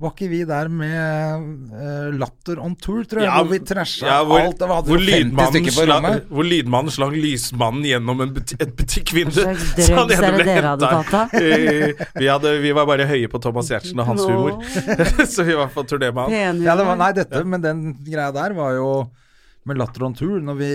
Speaker 1: Var ikke vi der med eh, Latter on tour, tror jeg?
Speaker 2: Ja,
Speaker 1: hvor vi trasha
Speaker 2: ja, hvor-
Speaker 1: alt. Det var
Speaker 2: hvor
Speaker 1: hadde jo 50
Speaker 2: lydmannen
Speaker 1: stykker på
Speaker 2: slang-
Speaker 1: rommet.
Speaker 2: Hvor lydmannen slang lysmannen gjennom en buti et butikkvindu.
Speaker 4: Hva slags drugs er det dere hadde
Speaker 2: hentet.
Speaker 4: tatt, da?
Speaker 2: Eh, vi, hadde, vi var bare høye på Thomas Giertsen og hans
Speaker 4: Nå.
Speaker 2: humor. så vi var på turné med han.
Speaker 4: Penhus.
Speaker 1: Ja, det var, nei, dette, men den greia der var jo med Latter on tour, når vi,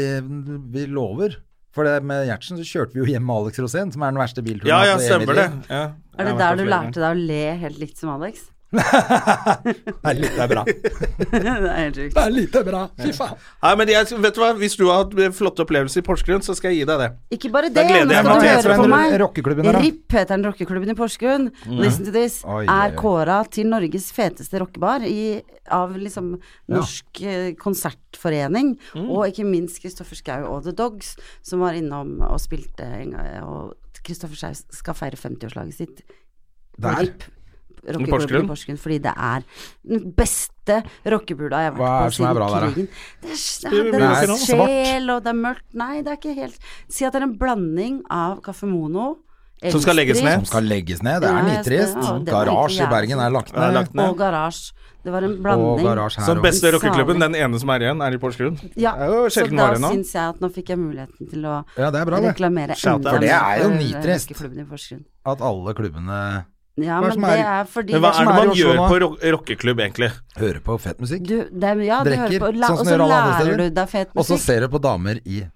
Speaker 1: vi lover. For det med Gjertsen så kjørte vi jo hjem med Alex Rosén, som er den verste bilturen
Speaker 2: Ja,
Speaker 1: jeg
Speaker 2: ja,
Speaker 1: har hatt i hele
Speaker 2: stemmer
Speaker 1: mitt
Speaker 2: det.
Speaker 1: liv.
Speaker 2: Ja.
Speaker 4: er det
Speaker 2: Jeg har vært
Speaker 4: der
Speaker 2: på
Speaker 4: du
Speaker 2: flere
Speaker 4: lærte deg å le helt likt som Alex?
Speaker 1: Det er litt det er bra.
Speaker 4: det er helt sjukt.
Speaker 1: Det er lite bra. Fy faen.
Speaker 2: Nei, men jeg, vet du hva, Hvis du har hatt flotte opplevelser i Porsgrunn, så skal jeg gi deg det.
Speaker 4: Ikke bare
Speaker 2: Da
Speaker 4: det,
Speaker 2: gleder
Speaker 4: nå
Speaker 2: jeg
Speaker 4: skal
Speaker 2: meg
Speaker 4: du
Speaker 2: til
Speaker 4: høre
Speaker 1: Espen
Speaker 4: på meg.
Speaker 1: Rockeklubben der, da. Mm.
Speaker 4: RIP heter den rockeklubben i Porsgrunn. Listen to this.
Speaker 1: Oi, oi, oi.
Speaker 4: Er kåra til Norges feteste rockebar i, av liksom Norsk eh, konsertforening.
Speaker 1: Mm.
Speaker 4: Og ikke minst Kristoffer Schau og The Dogs, som var innom og spilte en gang. Og Kristoffer Schau skal feire 50-årslaget sitt på
Speaker 1: Der.
Speaker 4: RIP. rockeklubben
Speaker 2: Porsgrunn?
Speaker 4: i Porsgrunn, fordi det er den beste rockebula jeg har
Speaker 1: Hva er det
Speaker 4: vært på
Speaker 1: som er
Speaker 4: siden
Speaker 1: bra der, da?
Speaker 4: krigen. Det er, s-
Speaker 2: Spiller
Speaker 4: det
Speaker 1: rock
Speaker 4: er,
Speaker 1: and roll?
Speaker 4: sjel, og det er mørkt Nei, det er ikke helt Si at det er en blanding av Kaffe Mono
Speaker 2: Som skal legges
Speaker 4: Elstree,
Speaker 2: ned.
Speaker 1: Som skal legges ned, det er
Speaker 4: Ja, jeg
Speaker 1: nitrist.
Speaker 4: skal- ja, det var
Speaker 1: Garasje
Speaker 4: egentlig
Speaker 1: i Bergen er lagt
Speaker 2: Ja,
Speaker 1: ned.
Speaker 2: lagt ned.
Speaker 4: Og Garasje. Det var en
Speaker 1: Og
Speaker 4: blanding.
Speaker 1: garasje her
Speaker 2: Som
Speaker 1: også.
Speaker 2: beste rockeklubben, den ene som er igjen, er i Porsgrunn.
Speaker 4: Ja,
Speaker 2: Det er jo
Speaker 4: så
Speaker 2: sjelden
Speaker 4: da
Speaker 2: vare nå.
Speaker 4: syns jeg at nå fikk jeg muligheten til å
Speaker 1: Ja, det er bra, det.
Speaker 4: reklamere
Speaker 2: Shout out.
Speaker 4: enda
Speaker 2: For det
Speaker 1: er jo
Speaker 4: for, eh,
Speaker 1: nitrist.
Speaker 4: rockeklubben i Porsgrunn.
Speaker 1: At alle klubbene
Speaker 4: Ja,
Speaker 1: Hva er det som
Speaker 4: men
Speaker 1: er i-
Speaker 4: det er fordi
Speaker 2: Men hva
Speaker 1: Hva
Speaker 2: er
Speaker 1: som
Speaker 2: det
Speaker 1: er i
Speaker 2: man
Speaker 1: Oslo
Speaker 2: gjør
Speaker 1: nå?
Speaker 2: på ro- rockeklubb, egentlig?
Speaker 1: hører på fett musikk.
Speaker 4: du, det, er- ja, du hører
Speaker 1: Drikker,
Speaker 4: på,
Speaker 1: sånn
Speaker 4: la,
Speaker 1: som
Speaker 4: og
Speaker 1: de
Speaker 4: så
Speaker 1: gjør alle andre
Speaker 4: lærer du
Speaker 1: steder.
Speaker 4: deg fet
Speaker 1: Og så
Speaker 4: musikk.
Speaker 1: ser du på damer i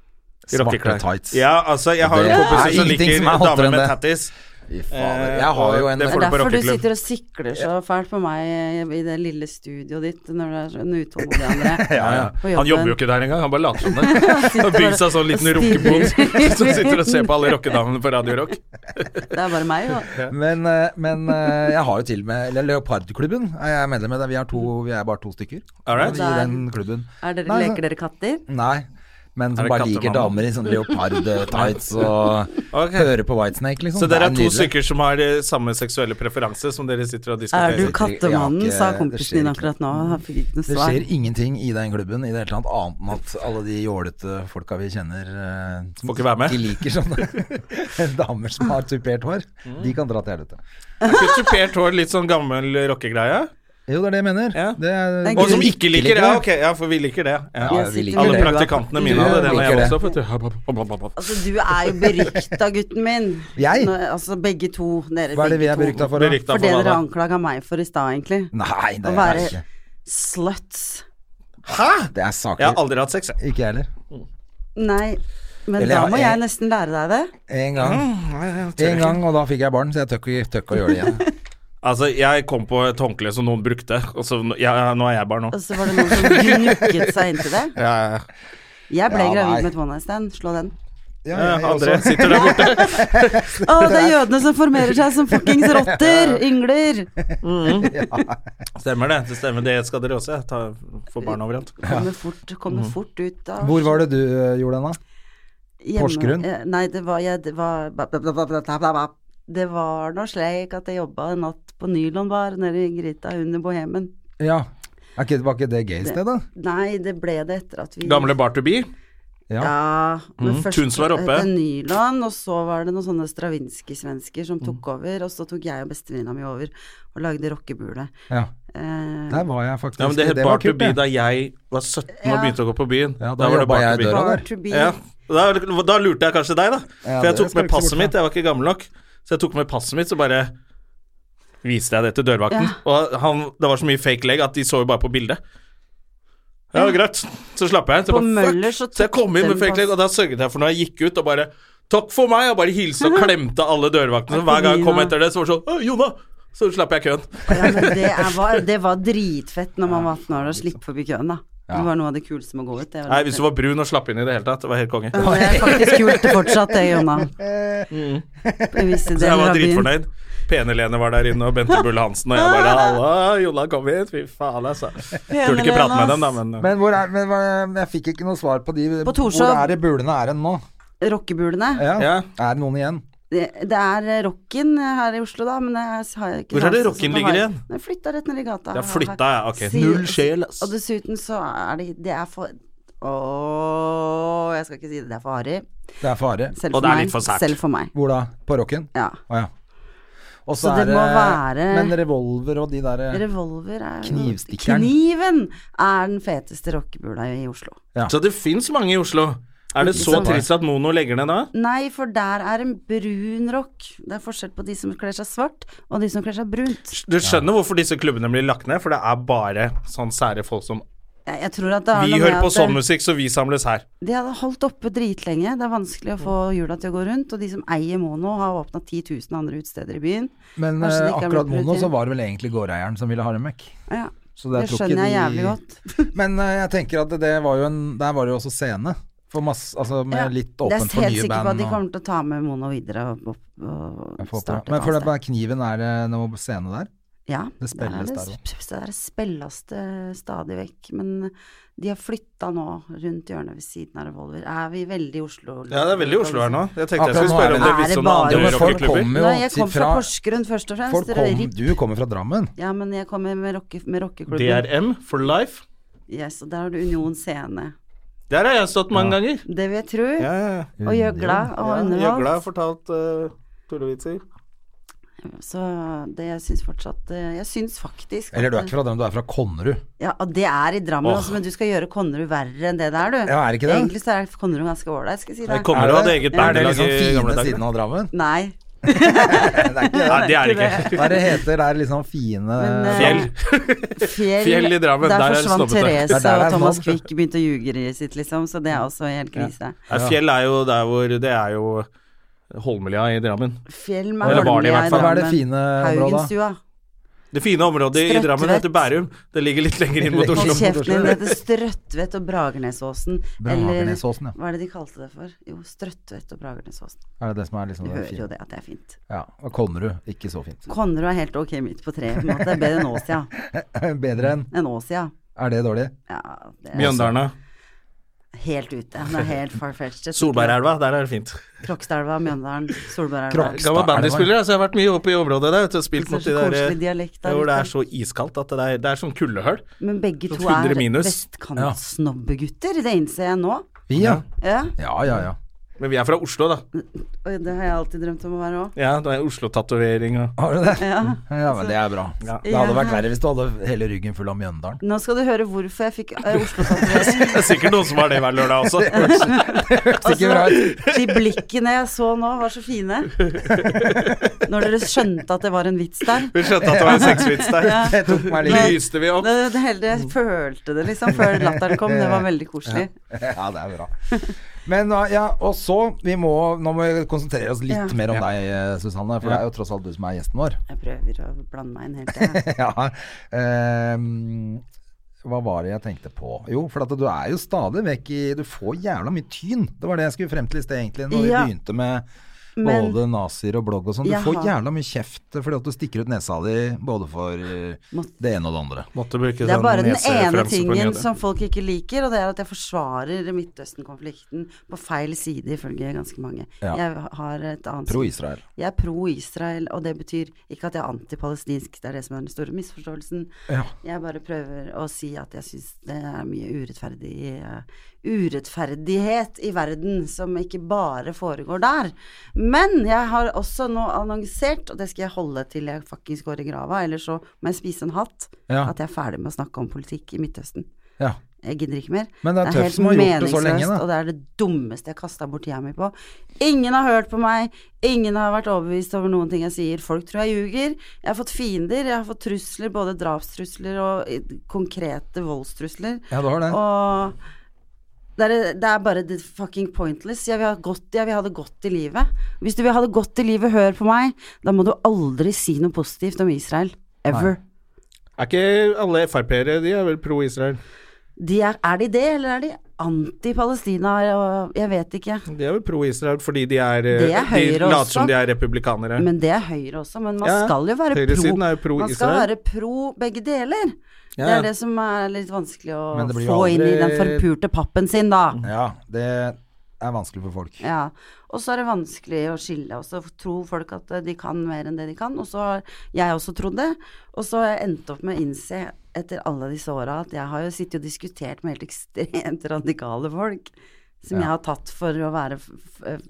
Speaker 1: svarte
Speaker 2: Rockeklær.
Speaker 1: tights.
Speaker 2: Ja, altså, jeg har
Speaker 1: Det
Speaker 2: jo
Speaker 1: er
Speaker 2: kompiser som
Speaker 1: ingenting
Speaker 2: liker
Speaker 1: som er hottere
Speaker 2: damer
Speaker 1: enn
Speaker 2: med
Speaker 1: det.
Speaker 2: tattis.
Speaker 1: Fy fader.
Speaker 2: Eh,
Speaker 1: Jeg har jo
Speaker 2: og
Speaker 1: en
Speaker 2: det
Speaker 4: Det
Speaker 2: får
Speaker 4: er
Speaker 2: du på
Speaker 4: derfor du
Speaker 2: rockeklubb.
Speaker 4: sitter og sikler så fælt på meg eh, i det lille studioet ditt når du er sånn utålmodig, André.
Speaker 2: Ja, ja.
Speaker 4: På
Speaker 2: Han jobber jo ikke der engang, han bare later som det. Han bygger seg sånn liten rockebom som sitter og ser på alle rockedamene på Radio Rock.
Speaker 4: Det er bare meg, jo.
Speaker 1: Men, eh, men eh, jeg har jo til og med Eller Leopardklubben er jeg medlem i. Vi er, to, vi er bare to stykker
Speaker 2: Alright.
Speaker 1: i den klubben.
Speaker 4: Er dere,
Speaker 1: Nei,
Speaker 4: leker dere katter?
Speaker 1: Nei. Men som
Speaker 2: det
Speaker 1: bare liker
Speaker 2: kattemann?
Speaker 1: damer i sånn leopard-tights og
Speaker 2: Ok.
Speaker 1: hører på Whitesnake, liksom.
Speaker 2: Så
Speaker 1: Det
Speaker 2: dere er to
Speaker 1: nydelig.
Speaker 2: stykker som har eh, samme seksuelle preferanse som dere sitter og
Speaker 4: Er du
Speaker 2: diskuterer?
Speaker 4: kattemannen,
Speaker 1: ikke-
Speaker 4: sa
Speaker 1: det
Speaker 4: kompisen
Speaker 1: skjer
Speaker 4: din
Speaker 1: ikke.
Speaker 4: akkurat nå. Han fikk ikke noe
Speaker 1: Det
Speaker 4: svar.
Speaker 1: skjer ingenting i den klubben i det hele tatt, annet enn at alle de jålete folka vi kjenner eh, som
Speaker 2: Får ikke være med.
Speaker 1: ikke liker sånne damer som har tupert hår, de kan dra til helvete.
Speaker 2: Er ikke Tupert hår litt sånn gammel rockegreie?
Speaker 1: Jo, det er det jeg mener.
Speaker 2: Ja.
Speaker 1: Det er,
Speaker 4: Det er
Speaker 2: Og som
Speaker 4: Vi
Speaker 2: ikke liker det? Ja, ok, ja, for vi liker det. Ja.
Speaker 1: Ja,
Speaker 4: Jeg
Speaker 1: vi
Speaker 4: sitter
Speaker 1: liker
Speaker 2: Alle
Speaker 4: med
Speaker 1: det.
Speaker 4: øra-
Speaker 2: praktikantene mine hadde det da
Speaker 1: Liker
Speaker 2: jeg
Speaker 1: det.
Speaker 2: vokste opp. vet du.
Speaker 4: Altså, du er jo berykta, gutten min.
Speaker 1: Jeg?
Speaker 4: Nå, altså, begge to. Dere
Speaker 1: Hva er det vi
Speaker 4: begge
Speaker 1: er berykta
Speaker 4: to.
Speaker 1: for? da?
Speaker 2: Berykta
Speaker 4: For det
Speaker 2: hva
Speaker 4: dere
Speaker 2: da?
Speaker 4: anklaga meg for i stad, egentlig.
Speaker 1: Nei, det
Speaker 4: Å
Speaker 1: er jeg
Speaker 4: være-
Speaker 1: ikke.
Speaker 4: Sluts.
Speaker 2: Hæ?!
Speaker 1: Det er
Speaker 2: Jeg har
Speaker 1: saker.
Speaker 2: aldri hatt sex, jeg.
Speaker 1: Ikke jeg heller.
Speaker 4: Nei, men
Speaker 1: Eller
Speaker 4: da
Speaker 1: ja,
Speaker 4: må
Speaker 1: jeg-
Speaker 4: jeg nesten lære deg det.
Speaker 1: En gang.
Speaker 4: Mm.
Speaker 1: En gang, og da fikk jeg barn, så jeg tør ikke- tør ikke å gjøre det igjen.
Speaker 2: Altså, jeg kom på et håndkle som noen brukte, og så ja, ja, nå er jeg bare nå.
Speaker 1: Altså,
Speaker 4: Og så var det noen som gnukket seg inntil det.
Speaker 2: Ja, ja, ja.
Speaker 4: Jeg ble
Speaker 1: Ja, nei.
Speaker 4: gravid med et one night stand. Slå den.
Speaker 1: Ja,
Speaker 2: Ja,
Speaker 1: jeg
Speaker 2: André
Speaker 1: også.
Speaker 2: sitter der borte.
Speaker 4: Å, det er jødene som formerer seg som fuckings rotter! Yngler!
Speaker 2: Stemmer det. Det stemmer, det skal dere også. Ta, få barn overalt.
Speaker 4: Kommer fort, kommer fort ut av
Speaker 1: Mhm. Hvor var det du eh, gjorde den, da?
Speaker 4: Hjemme-
Speaker 1: Porsgrunn?
Speaker 4: eh, Nei, det var, jeg, det var bla, bla, bla, bla, bla, bla, bla. Det var nå slik at jeg jobba en natt på Nylonbar nede i Grita under Bohemen.
Speaker 1: Ja. Er ikke, var ikke det gøy sted, da?
Speaker 4: Nei, det ble det etter at vi
Speaker 2: Gamle Bar to Be.
Speaker 4: Ja, men
Speaker 2: Mm,
Speaker 4: først
Speaker 2: Tunes var oppe.
Speaker 4: etter Nyland, og så var det noen sånne stravinskij-svensker som tok
Speaker 1: Mhm.
Speaker 4: over, og så tok jeg og bestevenninna mi over og lagde rockebule.
Speaker 1: Ja.
Speaker 4: Eh,
Speaker 1: Der var jeg faktisk.
Speaker 2: Ja, men Det het
Speaker 1: var
Speaker 2: Bar to
Speaker 1: kult,
Speaker 2: Be
Speaker 1: det.
Speaker 2: da jeg var 17 og
Speaker 4: Ja.
Speaker 2: begynte å gå på byen.
Speaker 1: Ja, da jobba jeg i døra.
Speaker 4: Bar
Speaker 1: der.
Speaker 4: to be.
Speaker 2: Ja, og da, da lurte jeg kanskje deg, da.
Speaker 1: Ja,
Speaker 2: For jeg
Speaker 1: det
Speaker 2: tok
Speaker 1: skal
Speaker 2: med
Speaker 1: ikke se
Speaker 2: passet
Speaker 1: bort
Speaker 2: mitt, jeg
Speaker 1: fra.
Speaker 2: var ikke gammel nok. Så jeg tok med passet mitt, så bare viste jeg det til dørvakten. Og han, det var så mye fake leg at de så jo bare på bildet. Ja, greit. Så slapp jeg. Så,
Speaker 4: På
Speaker 2: jeg bare, fuck.
Speaker 4: Møller så
Speaker 2: så jeg kom inn
Speaker 4: tok
Speaker 2: med
Speaker 4: den
Speaker 2: fake leg,
Speaker 4: pass-
Speaker 2: og da sørget jeg for når jeg gikk ut og bare Takk for meg! Og bare hilste og klemte alle dørvaktene. Så hver gang jeg kom etter det, så var det sånn Å, Jona! Så slapp jeg køen.
Speaker 4: Ja, men det, er, var, det var dritfett når man var 18 år og slipp forbi køen, da. Det var noe av det kuleste med å gå ut. Det var
Speaker 2: Nei, hvis du var brun og slapp inn i det hele tatt, det var helt konge.
Speaker 4: Ja, det er faktisk kult fortsatt, det, Jonna. I visse
Speaker 2: Så jeg
Speaker 4: deler
Speaker 2: var
Speaker 4: av byen.
Speaker 2: dritfornøyd. Pene-Lene var der inne, og Bente Bull Hansen, og jeg bare Halla, Jonna, kom hit. Fy faen, altså. Turte ikke prate med dem, da, men
Speaker 1: Men, hvor er, men hva- jeg fikk ikke noe svar på de
Speaker 4: På Torshov.
Speaker 1: Hvor er det bulene er hen nå?
Speaker 4: Rockebulene.
Speaker 1: Ja.
Speaker 2: Ja.
Speaker 1: Er det noen igjen?
Speaker 4: Det, det er eh, Rocken her i Oslo, da, men det er, har jeg ikke
Speaker 2: Hvor er det
Speaker 4: sansen
Speaker 2: Rocken
Speaker 4: som
Speaker 2: ligger
Speaker 4: har-
Speaker 2: igjen?
Speaker 4: Den flytta rett ned i gata.
Speaker 2: Da flytta jeg, ok.
Speaker 4: Si-
Speaker 2: Null sjel, ass.
Speaker 4: Og dessuten så er det Det er for Ååå, jeg skal ikke si det. Det er for harry.
Speaker 1: Det er fare.
Speaker 4: Selv
Speaker 2: Og
Speaker 4: for
Speaker 2: det er
Speaker 4: meg.
Speaker 2: litt for sært.
Speaker 4: Selv for meg.
Speaker 1: Hvor da? På Rocken?
Speaker 4: Ja.
Speaker 1: Å ja. Og
Speaker 4: Så det må være-
Speaker 1: Men revolver og de der
Speaker 4: Revolver er jo-
Speaker 1: Knivstikkeren.
Speaker 4: Kniven er den feteste rockebula i Oslo.
Speaker 2: Så det fins mange i Oslo. Er det så
Speaker 1: sant?
Speaker 2: trist at Mono legger ned da?
Speaker 4: Nei, for der er en brun rock. Det er forskjell på de som kler seg svart, og de som kler seg brunt.
Speaker 2: Du skjønner hvorfor disse klubbene blir lagt ned, for det er bare sånn sære folk som
Speaker 4: Jeg, jeg tror at det har
Speaker 2: Vi
Speaker 4: noe med
Speaker 2: hører på
Speaker 4: at
Speaker 2: sånn
Speaker 4: det-
Speaker 2: musikk, så vi samles her.
Speaker 4: De hadde holdt oppe dritlenge. Det er vanskelig å få hjula til å gå rundt. Og de som eier Mono, har åpna 10 000 andre utesteder i byen.
Speaker 1: Men
Speaker 4: Kanskje
Speaker 1: eh,
Speaker 4: det ikke er blitt
Speaker 1: akkurat Mono
Speaker 4: prioritert.
Speaker 1: så var det vel egentlig gårdeieren som ville ha dem vekk.
Speaker 4: Ja,
Speaker 1: Så
Speaker 4: det
Speaker 1: jeg tror ikke
Speaker 4: skjønner jeg
Speaker 1: de-
Speaker 4: jævlig godt.
Speaker 1: Men eh, jeg tenker at det var jo en Der var det jo også scene. For masse, altså med
Speaker 4: Ja.
Speaker 1: litt
Speaker 4: Det er
Speaker 1: åpent for
Speaker 4: jeg helt
Speaker 1: nye
Speaker 4: sikker på at
Speaker 1: band.
Speaker 4: de
Speaker 1: og-
Speaker 4: kommer til å ta med Mono videre og, og,
Speaker 1: Jeg får håpe
Speaker 4: og
Speaker 1: det.
Speaker 4: starte et
Speaker 1: Men for det
Speaker 4: annet sted.
Speaker 1: er kniven, er det eh, noe scene der?
Speaker 4: Ja,
Speaker 1: Det spilles
Speaker 4: der, er
Speaker 1: der
Speaker 4: det, sp- sp- der spilles det stadig vekk. Men de har flytta nå, rundt hjørnet ved siden av Revolver. Er vi veldig i Oslo?
Speaker 2: Ja, det er veldig Oslo her nå. Jeg tenkte jeg
Speaker 1: Akkurat
Speaker 2: skulle
Speaker 1: nå er
Speaker 2: spørre om
Speaker 1: det-
Speaker 2: dere
Speaker 4: Er det
Speaker 2: visste om
Speaker 4: bare-
Speaker 2: noen
Speaker 1: Jo,
Speaker 2: andre
Speaker 1: men folk
Speaker 2: rockeklubber.
Speaker 1: kommer jo
Speaker 4: Nei, jeg
Speaker 1: til-
Speaker 4: kom fra
Speaker 1: fra-
Speaker 4: Porsgrunn først og fremst.
Speaker 1: Folk
Speaker 4: Dere er
Speaker 1: kom,
Speaker 4: ripp-
Speaker 1: du kommer fra Drammen.
Speaker 4: Ja, men jeg kommer med, rocke, med rockeklubben.
Speaker 2: DRM for life.
Speaker 4: Yes, og der har du Union Scene.
Speaker 2: Der har jeg stått mange ganger.
Speaker 4: Det vil jeg tro.
Speaker 2: Ja, ja, ja.
Speaker 4: Og gjøgla og
Speaker 2: Gjøgla
Speaker 4: underholdt.
Speaker 2: har fortalt eh, tullevitser.
Speaker 4: Så det jeg syns fortsatt eh, Jeg syns faktisk
Speaker 1: Eller du er
Speaker 4: at-
Speaker 1: ikke fra Drammen, du er fra Konnerud.
Speaker 4: Ja, og det er i Drammen, altså, men du skal gjøre Konnerud verre enn det der, du.
Speaker 1: Ja, er det ikke det?
Speaker 4: Egentlig så er Konnerud ganske ålreit, skal jeg si
Speaker 2: Jeg
Speaker 4: deg.
Speaker 2: kommer
Speaker 1: Er
Speaker 2: til å
Speaker 1: det-
Speaker 2: ha eget
Speaker 1: Er det
Speaker 2: bandelag
Speaker 1: liksom
Speaker 2: i gamle
Speaker 1: fine
Speaker 2: dager.
Speaker 1: siden av Drammen?
Speaker 4: Nei.
Speaker 2: Nei, det er det ikke.
Speaker 1: Hva er det heter? Det er liksom fine
Speaker 4: Men, eh,
Speaker 2: Fjell.
Speaker 4: Fjell,
Speaker 2: Fjell i Drammen,
Speaker 4: Der,
Speaker 2: der er det
Speaker 4: forsvant
Speaker 2: snobbete.
Speaker 1: Det
Speaker 4: Therese,
Speaker 1: er der det
Speaker 4: og
Speaker 1: er
Speaker 4: Thomas
Speaker 1: snobb.
Speaker 4: Quick begynte å ljuge i sitt, liksom, så det er også helt krise.
Speaker 2: Nei, Fjell er jo der hvor Det er jo Holmlia i Drammen.
Speaker 4: Fjell med
Speaker 2: Eller var det i
Speaker 4: Holmlia
Speaker 2: hvert
Speaker 4: i
Speaker 2: fall.
Speaker 1: Hva er det
Speaker 4: Drammen.
Speaker 1: fine området?
Speaker 4: Haugenstua.
Speaker 2: Det fine området i
Speaker 4: Strøtvedt.
Speaker 2: Drammen heter Bærum. Det ligger litt lenger inn mot
Speaker 4: Hold
Speaker 2: Oslo.
Speaker 4: kjeften din, det heter Strøtvedt og Bragernesåsen. Eller
Speaker 1: Bragernesåsen, ja.
Speaker 4: hva er det de kalte det for? Jo, Strøtvedt og Bragernesåsen.
Speaker 1: Er det det som er liksom
Speaker 4: Du
Speaker 1: det
Speaker 4: hører jo
Speaker 1: fine?
Speaker 4: det at det er fint.
Speaker 1: Ja. Og Konnerud, ikke så fint.
Speaker 4: Konnerud er helt ok midt på treet, på en måte. Det er Bedre enn Åsia.
Speaker 1: Bedre enn
Speaker 4: Enn Åsia.
Speaker 1: Er det dårlig?
Speaker 4: Ja, det er
Speaker 2: Mjøndalene.
Speaker 4: helt ute. Det er helt far-fetched.
Speaker 2: Solbergelva, der er det fint.
Speaker 4: Krokstadelva, Mjøndalen, Solbergelva.
Speaker 1: Krok-
Speaker 2: Gammel bandyspiller, så jeg har vært mye oppe i området der vet du, og spilt
Speaker 4: Det er
Speaker 2: mot
Speaker 4: så
Speaker 2: de der eh,
Speaker 4: koselig dialekt der
Speaker 2: Hvor det
Speaker 4: ute.
Speaker 2: er så iskaldt at det er, det er som kuldehull.
Speaker 4: Men begge to
Speaker 2: 100
Speaker 4: er
Speaker 2: minus.
Speaker 4: vestkantsnobbegutter, det innser jeg nå.
Speaker 1: Vi, ja.
Speaker 4: Ja,
Speaker 1: Ja, ja, ja.
Speaker 2: Men vi er fra Oslo, da.
Speaker 4: og det har jeg alltid drømt om å være òg.
Speaker 2: Ja, det er Oslo-tatovering og
Speaker 1: Har du det?
Speaker 4: Ja.
Speaker 1: Ja, men det er bra. Det hadde vært verre hvis du hadde hele ryggen full av Mjøndalen.
Speaker 4: Nå skal du høre hvorfor jeg fikk eh, Oslo-tatovering.
Speaker 2: Det er sikkert noen som har det hver lørdag også.
Speaker 1: Ikke bra.
Speaker 4: Altså, De blikkene jeg så nå, var så fine. Når dere skjønte at det var en vits der.
Speaker 2: Vi skjønte at det var en sexvits der.
Speaker 1: Det tok meg litt
Speaker 2: Lyste vi opp.
Speaker 4: Det, det hele, jeg følte det liksom før latteren kom. Det var veldig koselig.
Speaker 1: Ja, det er bra. Men uh, ja, og så vi må, Nå må vi konsentrere oss litt
Speaker 4: Ja.
Speaker 1: mer om deg, eh, Susanne. For det er jo tross alt du som er gjesten vår.
Speaker 4: Jeg prøver å blande meg inn hele tida.
Speaker 1: ja. ehm, hva var det jeg tenkte på? Jo, for at du er jo stadig vekk i Du får jævla mye tyn. Det var det jeg skulle frem til i sted, egentlig, når
Speaker 4: Ja.
Speaker 1: vi begynte med
Speaker 4: Men-
Speaker 1: både nazier og blogg og sånn. Du
Speaker 4: Jeg
Speaker 1: får
Speaker 4: har-
Speaker 1: jævla mye kjeft fordi at du stikker ut nesa di både for eh,
Speaker 4: Måtte-
Speaker 1: det ene og det andre.
Speaker 2: Måtte bruke
Speaker 4: Det er
Speaker 2: sånn
Speaker 4: bare den ene
Speaker 2: nesereferanse på
Speaker 4: tingen
Speaker 2: nyhetene.
Speaker 4: som folk ikke liker, og det er at jeg forsvarer Midtøsten-konflikten på feil side, ifølge ganske mange.
Speaker 1: Ja.
Speaker 4: Jeg har et annet
Speaker 1: Pro-Israel.
Speaker 4: Jeg er pro-Israel, og det betyr ikke at jeg er antipalestinsk. Det er det som er den store misforståelsen.
Speaker 1: Ja.
Speaker 4: Jeg bare prøver å si at jeg syns det er mye urettferdig eh, urettferdighet i verden som ikke bare foregår der. Men jeg har også nå annonsert, og det skal jeg holde til jeg fuckings går i grava, eller så må jeg spise en hatt,
Speaker 1: Ja.
Speaker 4: at jeg er ferdig med å snakke om politikk i Midtøsten.
Speaker 1: Ja.
Speaker 4: Jeg gidder ikke mer.
Speaker 1: Men det er tøft som har gjort det så lenge, da.
Speaker 4: og det er det dummeste jeg kasta bort tida mi på. Ingen har hørt på meg, ingen har vært overbevist over noen ting jeg sier. Folk tror jeg ljuger. Jeg har fått fiender, jeg har fått trusler, både drapstrusler og eh, konkrete voldstrusler.
Speaker 1: ja, du har det.
Speaker 4: Og det er, det er bare det fucking pointless. Jeg vil, ha godt, jeg vil ha det godt i livet. Hvis du vil ha det godt i livet, hør på meg. Da må du aldri si noe positivt om Israel. Ever.
Speaker 2: Er ikke alle Frp-ere de er vel pro-Israel?
Speaker 4: De er, er de det, eller er de anti-Palestina? og- Jeg vet ikke.
Speaker 2: De er vel pro-Israel fordi de er, eh,
Speaker 4: Det er Høyre
Speaker 2: De later
Speaker 4: også.
Speaker 2: som de er republikanere.
Speaker 4: Men det er Høyre også. Men man
Speaker 2: Ja,
Speaker 4: skal jo være pro.
Speaker 2: høyresiden er jo pro
Speaker 4: man skal
Speaker 2: Israel.
Speaker 4: være pro begge deler.
Speaker 2: Ja,
Speaker 4: Det
Speaker 2: ja.
Speaker 4: er det som er litt vanskelig å
Speaker 1: Men det blir jo
Speaker 4: få inn i den
Speaker 1: aldri-
Speaker 4: forpurte pappen sin, da.
Speaker 1: Ja, det er vanskelig for folk.
Speaker 4: Ja. Og så er det vanskelig å skille, og så tror folk at eh, de kan mer enn det de kan. Og så har jeg også trodd det. Og så har jeg endt opp med å innse etter alle disse åra at jeg har jo sittet og diskutert med helt ekstremt radikale folk, som jeg har tatt for å være f f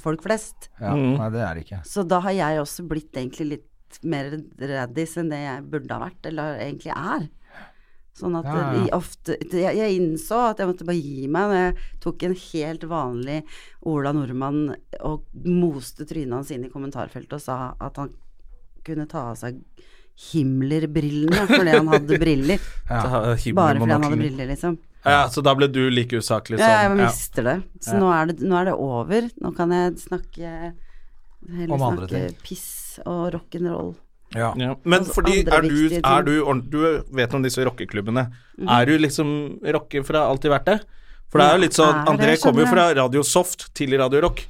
Speaker 4: folk flest.
Speaker 1: Ja, Nei, det er det ikke.
Speaker 4: Så da har jeg også blitt egentlig litt mer raddis enn det jeg burde ha vært, eller egentlig er. Sånn at
Speaker 1: Ja, ja.
Speaker 4: jeg ofte jeg, jeg innså at jeg måtte bare gi meg når jeg tok en helt vanlig Ola Nordmann og moste trynet hans inn i kommentarfeltet og sa at han kunne ta av seg Himmler-brillene fordi han hadde briller.
Speaker 2: Ja, himmel-
Speaker 4: Bare fordi han hadde
Speaker 2: monoklen.
Speaker 4: briller, liksom.
Speaker 2: Ja, så da ble du like usaklig som
Speaker 4: Ja, jeg
Speaker 2: sånn. ja.
Speaker 4: mister det. Så nå, er det, nå er det over. Nå kan jeg snakke Heller
Speaker 1: Om andre
Speaker 4: snakke piss og rock'n'roll.
Speaker 1: Ja.
Speaker 2: Ja. Men
Speaker 4: Altså,
Speaker 2: fordi
Speaker 4: andre
Speaker 2: er du,
Speaker 4: viktige ting.
Speaker 2: er du ordent- Du vet om disse rockeklubbene. Er du liksom rocker fra alltid vært det? For det er jo litt sånn
Speaker 4: Mhm. Ja, er det,
Speaker 2: André kommer jo
Speaker 4: skjønner
Speaker 2: fra Radio Soft til Radio Rock.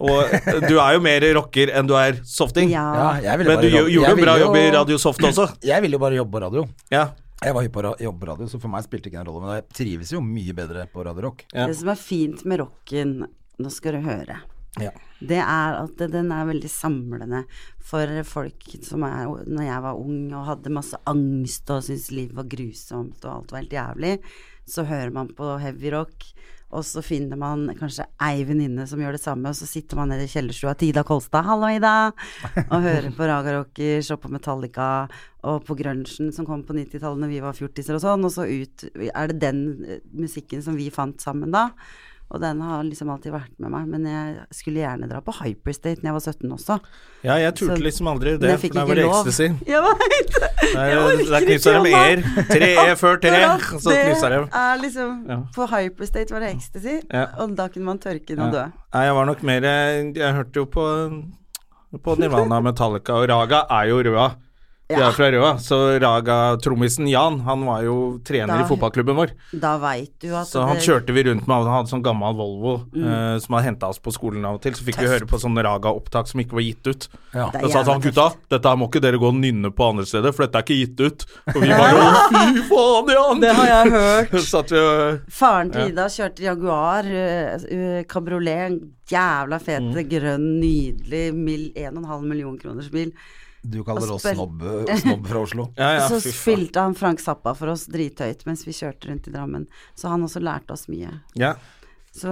Speaker 2: Og eh, du er jo mer rocker enn du er softing.
Speaker 1: Ja,
Speaker 4: Ja.
Speaker 1: jeg ville
Speaker 2: Men
Speaker 1: bare
Speaker 2: du
Speaker 1: jobbe-
Speaker 2: gjorde
Speaker 1: jeg
Speaker 2: jo bra
Speaker 1: ville
Speaker 2: jobb i Radio Soft også.
Speaker 1: Jeg ville jo bare jobbe på radio.
Speaker 2: Ja.
Speaker 1: Jeg var hypp på ra- jobb på radio, så for meg spilte ikke det en rolle. Men jeg trives jo mye bedre på Radio Rock.
Speaker 2: Ja.
Speaker 4: Det som er fint med rocken, nå skal du høre,
Speaker 1: Ja.
Speaker 4: det er at det- den er veldig samlende for folk som er Når jeg var ung og hadde masse angst og syntes livet var grusomt og alt var helt jævlig, så hører man på heavy rock. Og så finner man kanskje ei venninne som gjør det samme, og så sitter man nede i kjellerstua til Ida Kolstad, hallo Ida, og hører på Raga Rockers og på Metallica og på grunchen som kom på 90-tallet når vi var fjortiser og sånn, og så ut Er det den eh, musikken som vi fant sammen da? Og den har liksom alltid vært med meg, men jeg skulle gjerne dra på Hyperstate når jeg var 17 også.
Speaker 2: ja, jeg turte
Speaker 4: Så-
Speaker 2: liksom aldri det,
Speaker 4: Men jeg fikk
Speaker 2: for da
Speaker 4: ikke
Speaker 2: var det
Speaker 4: lov.
Speaker 2: ecstasy.
Speaker 4: Jeg vet det!
Speaker 2: Det
Speaker 4: Jeg
Speaker 2: er,
Speaker 4: orker
Speaker 2: det er
Speaker 4: ikke
Speaker 2: knuser dem i
Speaker 4: mer.
Speaker 2: er. Tre er før tre,
Speaker 4: Akkurat
Speaker 2: så knuser dem.
Speaker 4: Det er liksom
Speaker 2: Ja.
Speaker 4: På Hyperstate var det ecstasy,
Speaker 2: Ja.
Speaker 4: og da kunne man tørke inn
Speaker 2: Ja.
Speaker 4: og dø.
Speaker 2: Nei, jeg var nok mer Jeg, jeg hørte jo på, på Nirvana, Metallica og Raga er jo røa. De er fra Røa, så Raga-trommisen Jan, han var jo trener
Speaker 4: Da-
Speaker 2: i fotballklubben vår.
Speaker 4: Da veit du at
Speaker 2: Så han
Speaker 4: det- Mm.
Speaker 2: kjørte vi rundt med, han hadde sånn gammel Volvo eh, som han henta oss på skolen av og til. Så fikk vi høre på sånne Raga-opptak som ikke var gitt ut.
Speaker 1: Ja.
Speaker 4: Det
Speaker 2: Da
Speaker 4: er
Speaker 2: sa han
Speaker 4: jævla
Speaker 2: gutta, dette her må ikke dere gå og nynne på andre steder, for dette er ikke gitt ut. Og vi bare å, fy faen, Jan!
Speaker 4: Det har jeg hørt.
Speaker 2: Så satt vi og
Speaker 4: Faren til Ida kjørte Jaguar, uh, kabriolet, en jævla fet,
Speaker 2: Mm.
Speaker 4: grønn, nydelig, mil, 1,5 million kroners bil.
Speaker 1: Du kaller
Speaker 4: Og
Speaker 1: oss
Speaker 4: spør-
Speaker 1: snobb, snobb fra Oslo.
Speaker 2: Ja, ja,
Speaker 4: så
Speaker 2: fy faen.
Speaker 4: spilte han Frank Zappa for oss drithøyt mens vi kjørte rundt i Drammen. Så han også lærte oss mye.
Speaker 2: Ja.
Speaker 4: Så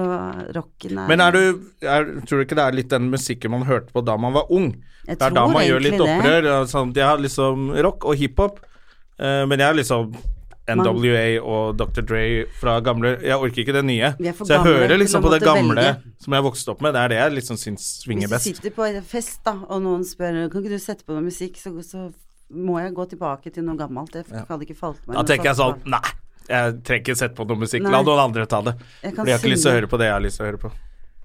Speaker 4: rocken er
Speaker 2: Men er du, er, tror du ikke det er litt den musikken man hørte på da man var ung?
Speaker 4: Jeg
Speaker 2: det er da
Speaker 4: tror
Speaker 2: man gjør litt
Speaker 4: egentlig det.
Speaker 2: opprør. og Sånn, jeg har liksom rock og hiphop, eh, men jeg er liksom NWA og Dr. Dre fra gamle Jeg orker ikke det nye.
Speaker 4: Vi er for
Speaker 2: Så jeg
Speaker 4: gamle til
Speaker 2: hører liksom
Speaker 4: å
Speaker 2: på det
Speaker 4: måtte
Speaker 2: gamle
Speaker 4: velge.
Speaker 2: som jeg vokste opp med. Det er det jeg liksom syns svinger
Speaker 4: Hvis du
Speaker 2: best.
Speaker 4: sitter på en fest da, og noen spør Kan ikke du sette på noe musikk, så, så må jeg gå tilbake til noe gammelt. Det hadde ikke falt meg
Speaker 2: Da
Speaker 4: inn å
Speaker 2: tenker jeg
Speaker 4: satse
Speaker 2: sånn
Speaker 4: på.
Speaker 2: Nei, jeg trenger ikke sette på noe musikk.
Speaker 4: Nei.
Speaker 2: La noen andre ta det.
Speaker 4: Jeg kan
Speaker 2: For jeg har ikke lyst til å
Speaker 4: synge.
Speaker 2: høre på det jeg har lyst til å høre på.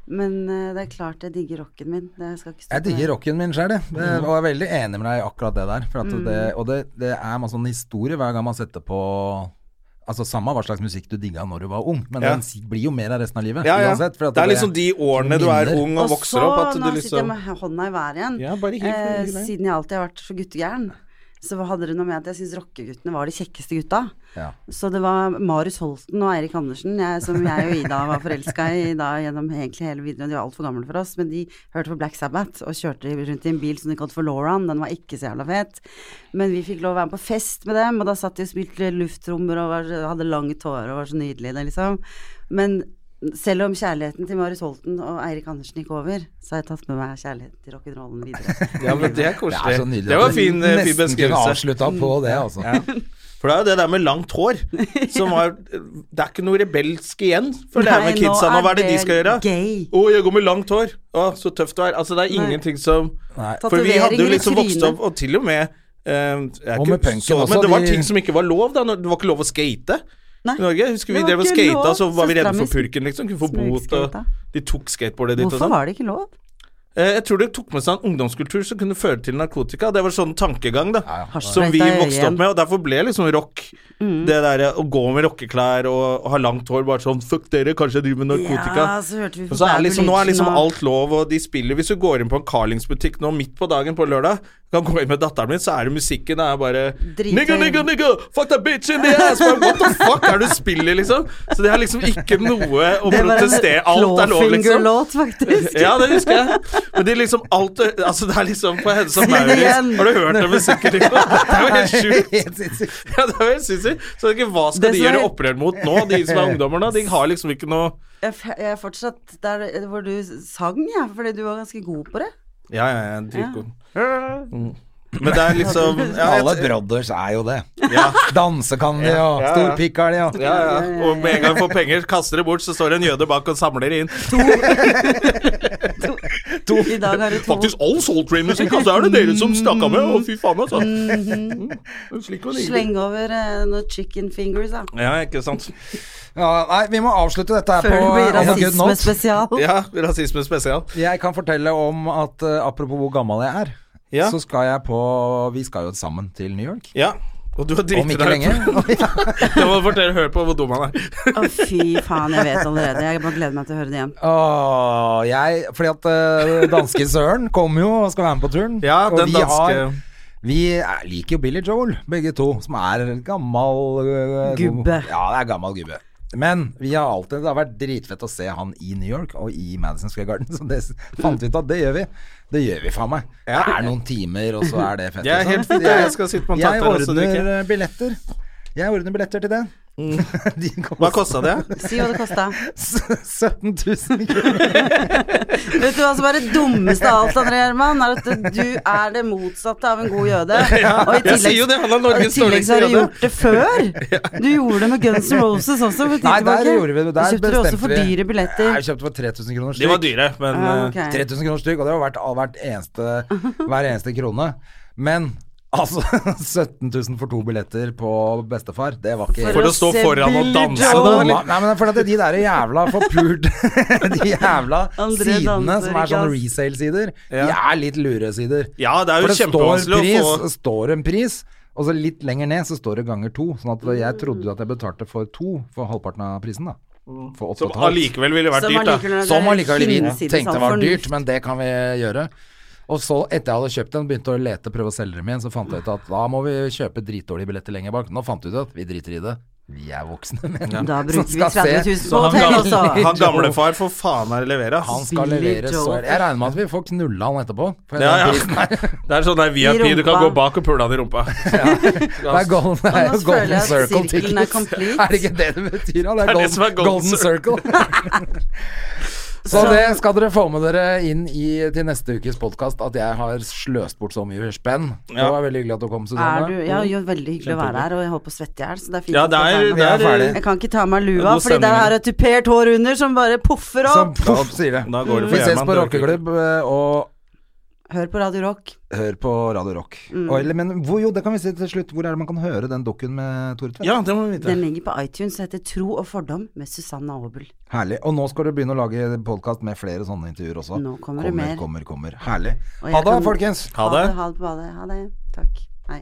Speaker 4: Men eh, det er klart jeg digger rocken min. Det skal ikke
Speaker 1: Jeg
Speaker 4: stå på det.
Speaker 1: digger rocken min sjøl, jeg. Det-
Speaker 4: Mm.
Speaker 1: Og jeg er veldig enig med deg i akkurat det der. For at det, og det, det er masse sånn historie hver gang man setter på Altså Samme hva slags musikk du digga når du var ung, men
Speaker 2: Ja.
Speaker 1: den si- blir jo mer av resten av livet.
Speaker 2: Ja, ja.
Speaker 1: Uansett. For at
Speaker 2: Det er liksom de årene du er
Speaker 1: minner.
Speaker 2: ung og vokser opp, at
Speaker 4: nå
Speaker 2: du
Speaker 4: sitter
Speaker 2: liksom
Speaker 4: jeg med hånda i været igjen.
Speaker 2: Ja, bare hiv på
Speaker 4: eh,
Speaker 2: hiv deg.
Speaker 4: siden jeg alltid har vært så guttegæren, så hadde det noe med at jeg syns rockeguttene var de kjekkeste gutta.
Speaker 1: Ja.
Speaker 4: Så det var Marius Holten og Eirik Andersen, jeg, som jeg og Ida var forelska i da gjennom egentlig hele videoen. De var altfor gamle for oss, men de hørte på Black Sabbath og kjørte rundt i en bil som de kalte for Lauran. Den var ikke så jævla fet. Men vi fikk lov å være med på fest med dem, og da satt de og spilte lufttrommer og var, hadde langt hår og var så nydelige, det, liksom. Men selv om kjærligheten til Marius Holten og Eirik Andersen gikk over, så har jeg tatt med meg kjærligheten til rock'n'rollen videre.
Speaker 2: Ja, men det er
Speaker 1: Det
Speaker 2: koselig.
Speaker 1: er så
Speaker 2: Det,
Speaker 1: nydelig.
Speaker 2: var
Speaker 1: at
Speaker 2: en
Speaker 1: vi
Speaker 2: fin, eh, fin
Speaker 1: Nesten kunne
Speaker 2: beskrivelse.
Speaker 1: avslutta på det, altså.
Speaker 2: For det er jo det der med langt hår som er Det er ikke noe rebelsk igjen, for det er
Speaker 4: Nei,
Speaker 2: med kidsa nå. Hva er det de skal gjøre?
Speaker 4: Gay.
Speaker 2: Å, jeg går med langt hår. Å, så tøft du er. Altså, det er
Speaker 4: Nei.
Speaker 2: ingenting som
Speaker 1: Nei.
Speaker 2: For vi hadde jo
Speaker 4: Tatoveringer i
Speaker 2: liksom vokst
Speaker 4: trynet.
Speaker 2: opp, og til og med eh, jeg er
Speaker 1: Og
Speaker 2: ikke
Speaker 1: med punken
Speaker 2: så-
Speaker 1: også,
Speaker 2: Men det var
Speaker 1: de-
Speaker 2: ting som ikke var lov, da. når- Det var ikke lov å skate
Speaker 4: Nei.
Speaker 2: i Norge. Husker vi
Speaker 4: Det var
Speaker 2: drev og
Speaker 4: ikke
Speaker 2: skata,
Speaker 4: lov.
Speaker 2: så var vi redde for
Speaker 4: Søstera mi
Speaker 2: purken, liksom. Kunne få bot, og
Speaker 4: smugskata.
Speaker 2: de tok skateboardet ditt og
Speaker 4: Hvorfor
Speaker 2: sånn.
Speaker 4: var det ikke lov?
Speaker 2: Eh, Jeg tror det tok med seg en ungdomskultur som kunne føre til narkotika. Det var sånn tankegang da,
Speaker 4: Har
Speaker 2: som vi
Speaker 4: sprøyta i Mm.
Speaker 2: vokste
Speaker 4: øyet.
Speaker 2: opp med, og derfor ble liksom rock det derre å gå med rockeklær og, og ha langt hår bare sånn Fuck dere, kanskje jeg driver med narkotika.
Speaker 4: Ja, så hørte vi på
Speaker 2: og så er
Speaker 4: Bad
Speaker 2: liksom, nå er liksom
Speaker 4: Religion og-
Speaker 2: alt lov, og de spiller Hvis du går inn på en Carlings-butikk nå midt på dagen på lørdag, kan gå inn med datteren min, så er det musikken det er bare
Speaker 4: Drithøy.
Speaker 2: Nigga, nigga, nigga, fuck that bitch in the ass! Bare, What the fuck er det du spiller, liksom? Så det er liksom ikke noe å
Speaker 4: Det var en
Speaker 2: protestere Alt er lov, liksom.
Speaker 4: Clawfinger-låt, faktisk.
Speaker 2: Ja, det husker jeg. Men det er liksom alt Altså, det er liksom på Hennes og
Speaker 4: Si det igjen.
Speaker 2: Maurits Har du hørt det musikken? Det er jo helt sjukt.
Speaker 1: Helt sinnssykt.
Speaker 2: Ja, det er jo helt sinnssykt. Så det er ikke, hva skal
Speaker 4: Det
Speaker 2: de
Speaker 4: som er
Speaker 2: gjøre
Speaker 4: helt-
Speaker 2: opprør mot nå, de som er ungdommer nå? De har liksom ikke noe
Speaker 4: Jeg f- jeg er fortsatt der hvor du sang, jeg, fordi du var ganske god på det.
Speaker 2: Ja, ja, ja, dritgod. Mm. Men det er liksom ja,
Speaker 1: Alle
Speaker 2: jeg-
Speaker 1: brothers er jo det.
Speaker 2: ja,
Speaker 1: Danse kan de, og
Speaker 2: ja, ja.
Speaker 1: stor pikk har de, og
Speaker 2: ja, ja. Og med en gang du får penger, kaster det bort, så står det en jøde bak og samler inn.
Speaker 4: I dag har du to.
Speaker 2: Faktisk all Soul Train-musikk, altså! Er det dere som snakka med? Å, fy faen, altså. Mm. Slik var det.
Speaker 4: Mhm. Sleng over eh, noen chicken fingers, da.
Speaker 2: Ja, ikke sant.
Speaker 1: ja, Nei, vi må avslutte dette her
Speaker 4: Før det
Speaker 1: på on
Speaker 4: blir
Speaker 1: a good note.
Speaker 4: rasismespesial.
Speaker 2: Ja, rasisme spesial.
Speaker 1: Jeg kan fortelle om at eh, apropos hvor gammel jeg er,
Speaker 2: Ja.
Speaker 1: så skal jeg på Vi skal jo sammen til New York.
Speaker 2: Ja. Og du har
Speaker 1: Om
Speaker 2: driti
Speaker 1: ikke
Speaker 2: deg
Speaker 1: lenge.
Speaker 2: ut. Det må fortelle høre på hvor dum han er.
Speaker 4: Å, fy faen, jeg vet allerede. Jeg bare gleder meg til å høre det igjen.
Speaker 1: Åh, jeg, fordi at eh, danske Søren kommer jo og skal være med på turen.
Speaker 2: Ja,
Speaker 1: og
Speaker 2: den
Speaker 1: vi
Speaker 2: danske
Speaker 1: vi er, liker jo Billy Joel, begge to, som er en gammel eh,
Speaker 4: Gubbe.
Speaker 1: Ja, det er gammel gubbe. Men vi har alltid, det har vært dritfett å se han i New York og i Madison Square Garden. Så det s- fant vi ut at det gjør vi. Det gjør vi, faen meg. Det er noen timer, og så er det fett.
Speaker 2: Jeg er
Speaker 1: liksom.
Speaker 2: helt- jeg skal sitte på en
Speaker 1: Jeg
Speaker 2: tatter og så drikke.
Speaker 1: ordner eh, billetter. Jeg ordner billetter til det. De
Speaker 2: Mm. Hva kosta det?
Speaker 4: Si hva det kosta.
Speaker 1: 17 000 kroner.
Speaker 4: Vet du hva som er det dummeste av alt, André Herman? Er at du er det motsatte av en god jøde. Og i
Speaker 2: jeg sier jo det, han er Norges
Speaker 4: og i tillegg så har
Speaker 2: dårligste
Speaker 4: du
Speaker 2: jøde.
Speaker 4: gjort det før. Du gjorde det med Guns N' Roses også. For
Speaker 1: Nei, der gjorde vi det. Der
Speaker 4: Der kjøpte du også
Speaker 1: bestemte
Speaker 4: for
Speaker 1: vi.
Speaker 4: dyre
Speaker 1: Nei,
Speaker 4: billetter.
Speaker 1: Jeg kjøpte for 3000 kroner
Speaker 2: De
Speaker 1: stykk.
Speaker 2: var dyre, men
Speaker 4: Ah,
Speaker 2: eh,
Speaker 4: ok.
Speaker 1: 3000 kroner stykk, og det var verdt all- hvert eneste, hver eneste krone. Men altså 17 000 for to billetter på bestefar, det var ikke
Speaker 4: For
Speaker 2: For
Speaker 4: å
Speaker 2: å stå
Speaker 4: se
Speaker 2: foran og
Speaker 4: Billy
Speaker 2: danse,
Speaker 1: Ja,
Speaker 4: Joel.
Speaker 2: da.
Speaker 1: det
Speaker 2: eller?
Speaker 1: var- Nei, men for at de der jævla forpult De jævla
Speaker 4: André
Speaker 1: sidene som er
Speaker 4: danser ikke,
Speaker 1: sånne
Speaker 4: ass.
Speaker 1: resale-sider, de
Speaker 2: Ja.
Speaker 1: er litt lure sider.
Speaker 2: Ja, det er jo
Speaker 1: For det står,
Speaker 2: kjempevanskelig å
Speaker 1: pris,
Speaker 2: få-
Speaker 1: står en pris, og så litt lenger ned så står det ganger to. Sånn at jeg trodde at jeg betalte for to for halvparten av prisen, da. For åtte og
Speaker 2: Som
Speaker 1: et halvt.
Speaker 2: allikevel ville vært
Speaker 4: Som
Speaker 2: dyrt, da.
Speaker 4: allikevel er
Speaker 1: Som allikevel vi
Speaker 4: hinsides
Speaker 1: tenkte
Speaker 4: all
Speaker 1: var
Speaker 4: fornuft.
Speaker 1: dyrt, men det kan vi gjøre. Og så, etter jeg hadde kjøpt den, begynte å lete, prøve å selge dem igjen, så fant jeg ut at da må vi kjøpe dritdårlige billetter lenger bak. Nå fant vi ut at vi driter i det. Vi er voksne menn.
Speaker 4: Da
Speaker 1: som
Speaker 4: bruker vi
Speaker 1: skal se.
Speaker 4: 30 000
Speaker 1: Så
Speaker 4: på
Speaker 1: han
Speaker 4: hotell altså.
Speaker 1: gamle-
Speaker 4: også.
Speaker 2: Han gamlefar får faen meg levere. ass.
Speaker 1: Han skal
Speaker 4: Billy
Speaker 1: levere så
Speaker 4: Joel.
Speaker 1: Jeg regner med at vi får knulla han etterpå. For
Speaker 2: Ja,
Speaker 1: den
Speaker 2: ja.
Speaker 1: prisen her-
Speaker 2: Det er sånn der VIP, du kan
Speaker 4: rumpa.
Speaker 2: gå bak og pule han i rumpa.
Speaker 1: Det er Golden, det er
Speaker 4: Og nå
Speaker 1: jo
Speaker 4: føler
Speaker 1: golden
Speaker 4: jeg at
Speaker 1: Circle
Speaker 4: sirkelen
Speaker 1: Tickets.
Speaker 4: er complete.
Speaker 1: Er det ikke det det betyr? Ja, det er,
Speaker 2: det
Speaker 1: golden,
Speaker 2: som er Golden
Speaker 1: golden Circle. Så det skal dere få med dere inn i, til neste ukes podkast at jeg har sløst bort så mye spenn. Det
Speaker 2: Ja.
Speaker 1: var veldig hyggelig at du kom,
Speaker 4: Er du,
Speaker 1: Susanne.
Speaker 4: ja, jo, veldig hyggelig å være her, og jeg holdt på å svette i hjel, så det er fint.
Speaker 2: Ja,
Speaker 4: at
Speaker 2: det er,
Speaker 4: jeg tar meg-
Speaker 2: det
Speaker 1: Vi er
Speaker 2: er
Speaker 1: ferdig.
Speaker 4: jeg kan ikke ta av meg lua,
Speaker 2: God
Speaker 4: fordi
Speaker 2: stemning.
Speaker 4: det er et tupert hår under som bare poffer
Speaker 1: Som
Speaker 4: opp.
Speaker 1: poff, sier det.
Speaker 2: Da går det for
Speaker 1: Vi ses
Speaker 2: Gjerman,
Speaker 1: på
Speaker 2: det orker vi ikke.
Speaker 1: rockeklubb eh, og
Speaker 4: Hør på Radio Rock.
Speaker 1: hør på Radio Rock.
Speaker 4: Mm.
Speaker 1: Og, eller, men hvor, jo, det kan vi si til slutt. Hvor er det man kan høre den dokken med Tore Tvedt?
Speaker 2: Ja, det må vi vite.
Speaker 4: Den ligger på iTunes og heter Tro og fordom med Susanna Aabel.
Speaker 1: Herlig. Og nå skal du begynne å lage podkast med flere sånne intervjuer også.
Speaker 4: Nå kommer det mer.
Speaker 1: Kommer, kommer. Herlig.
Speaker 4: Og jeg
Speaker 1: Ha det,
Speaker 4: kan-
Speaker 1: folkens.
Speaker 2: Ha det.
Speaker 4: Ha det på badet. Ha det. Takk. Hei.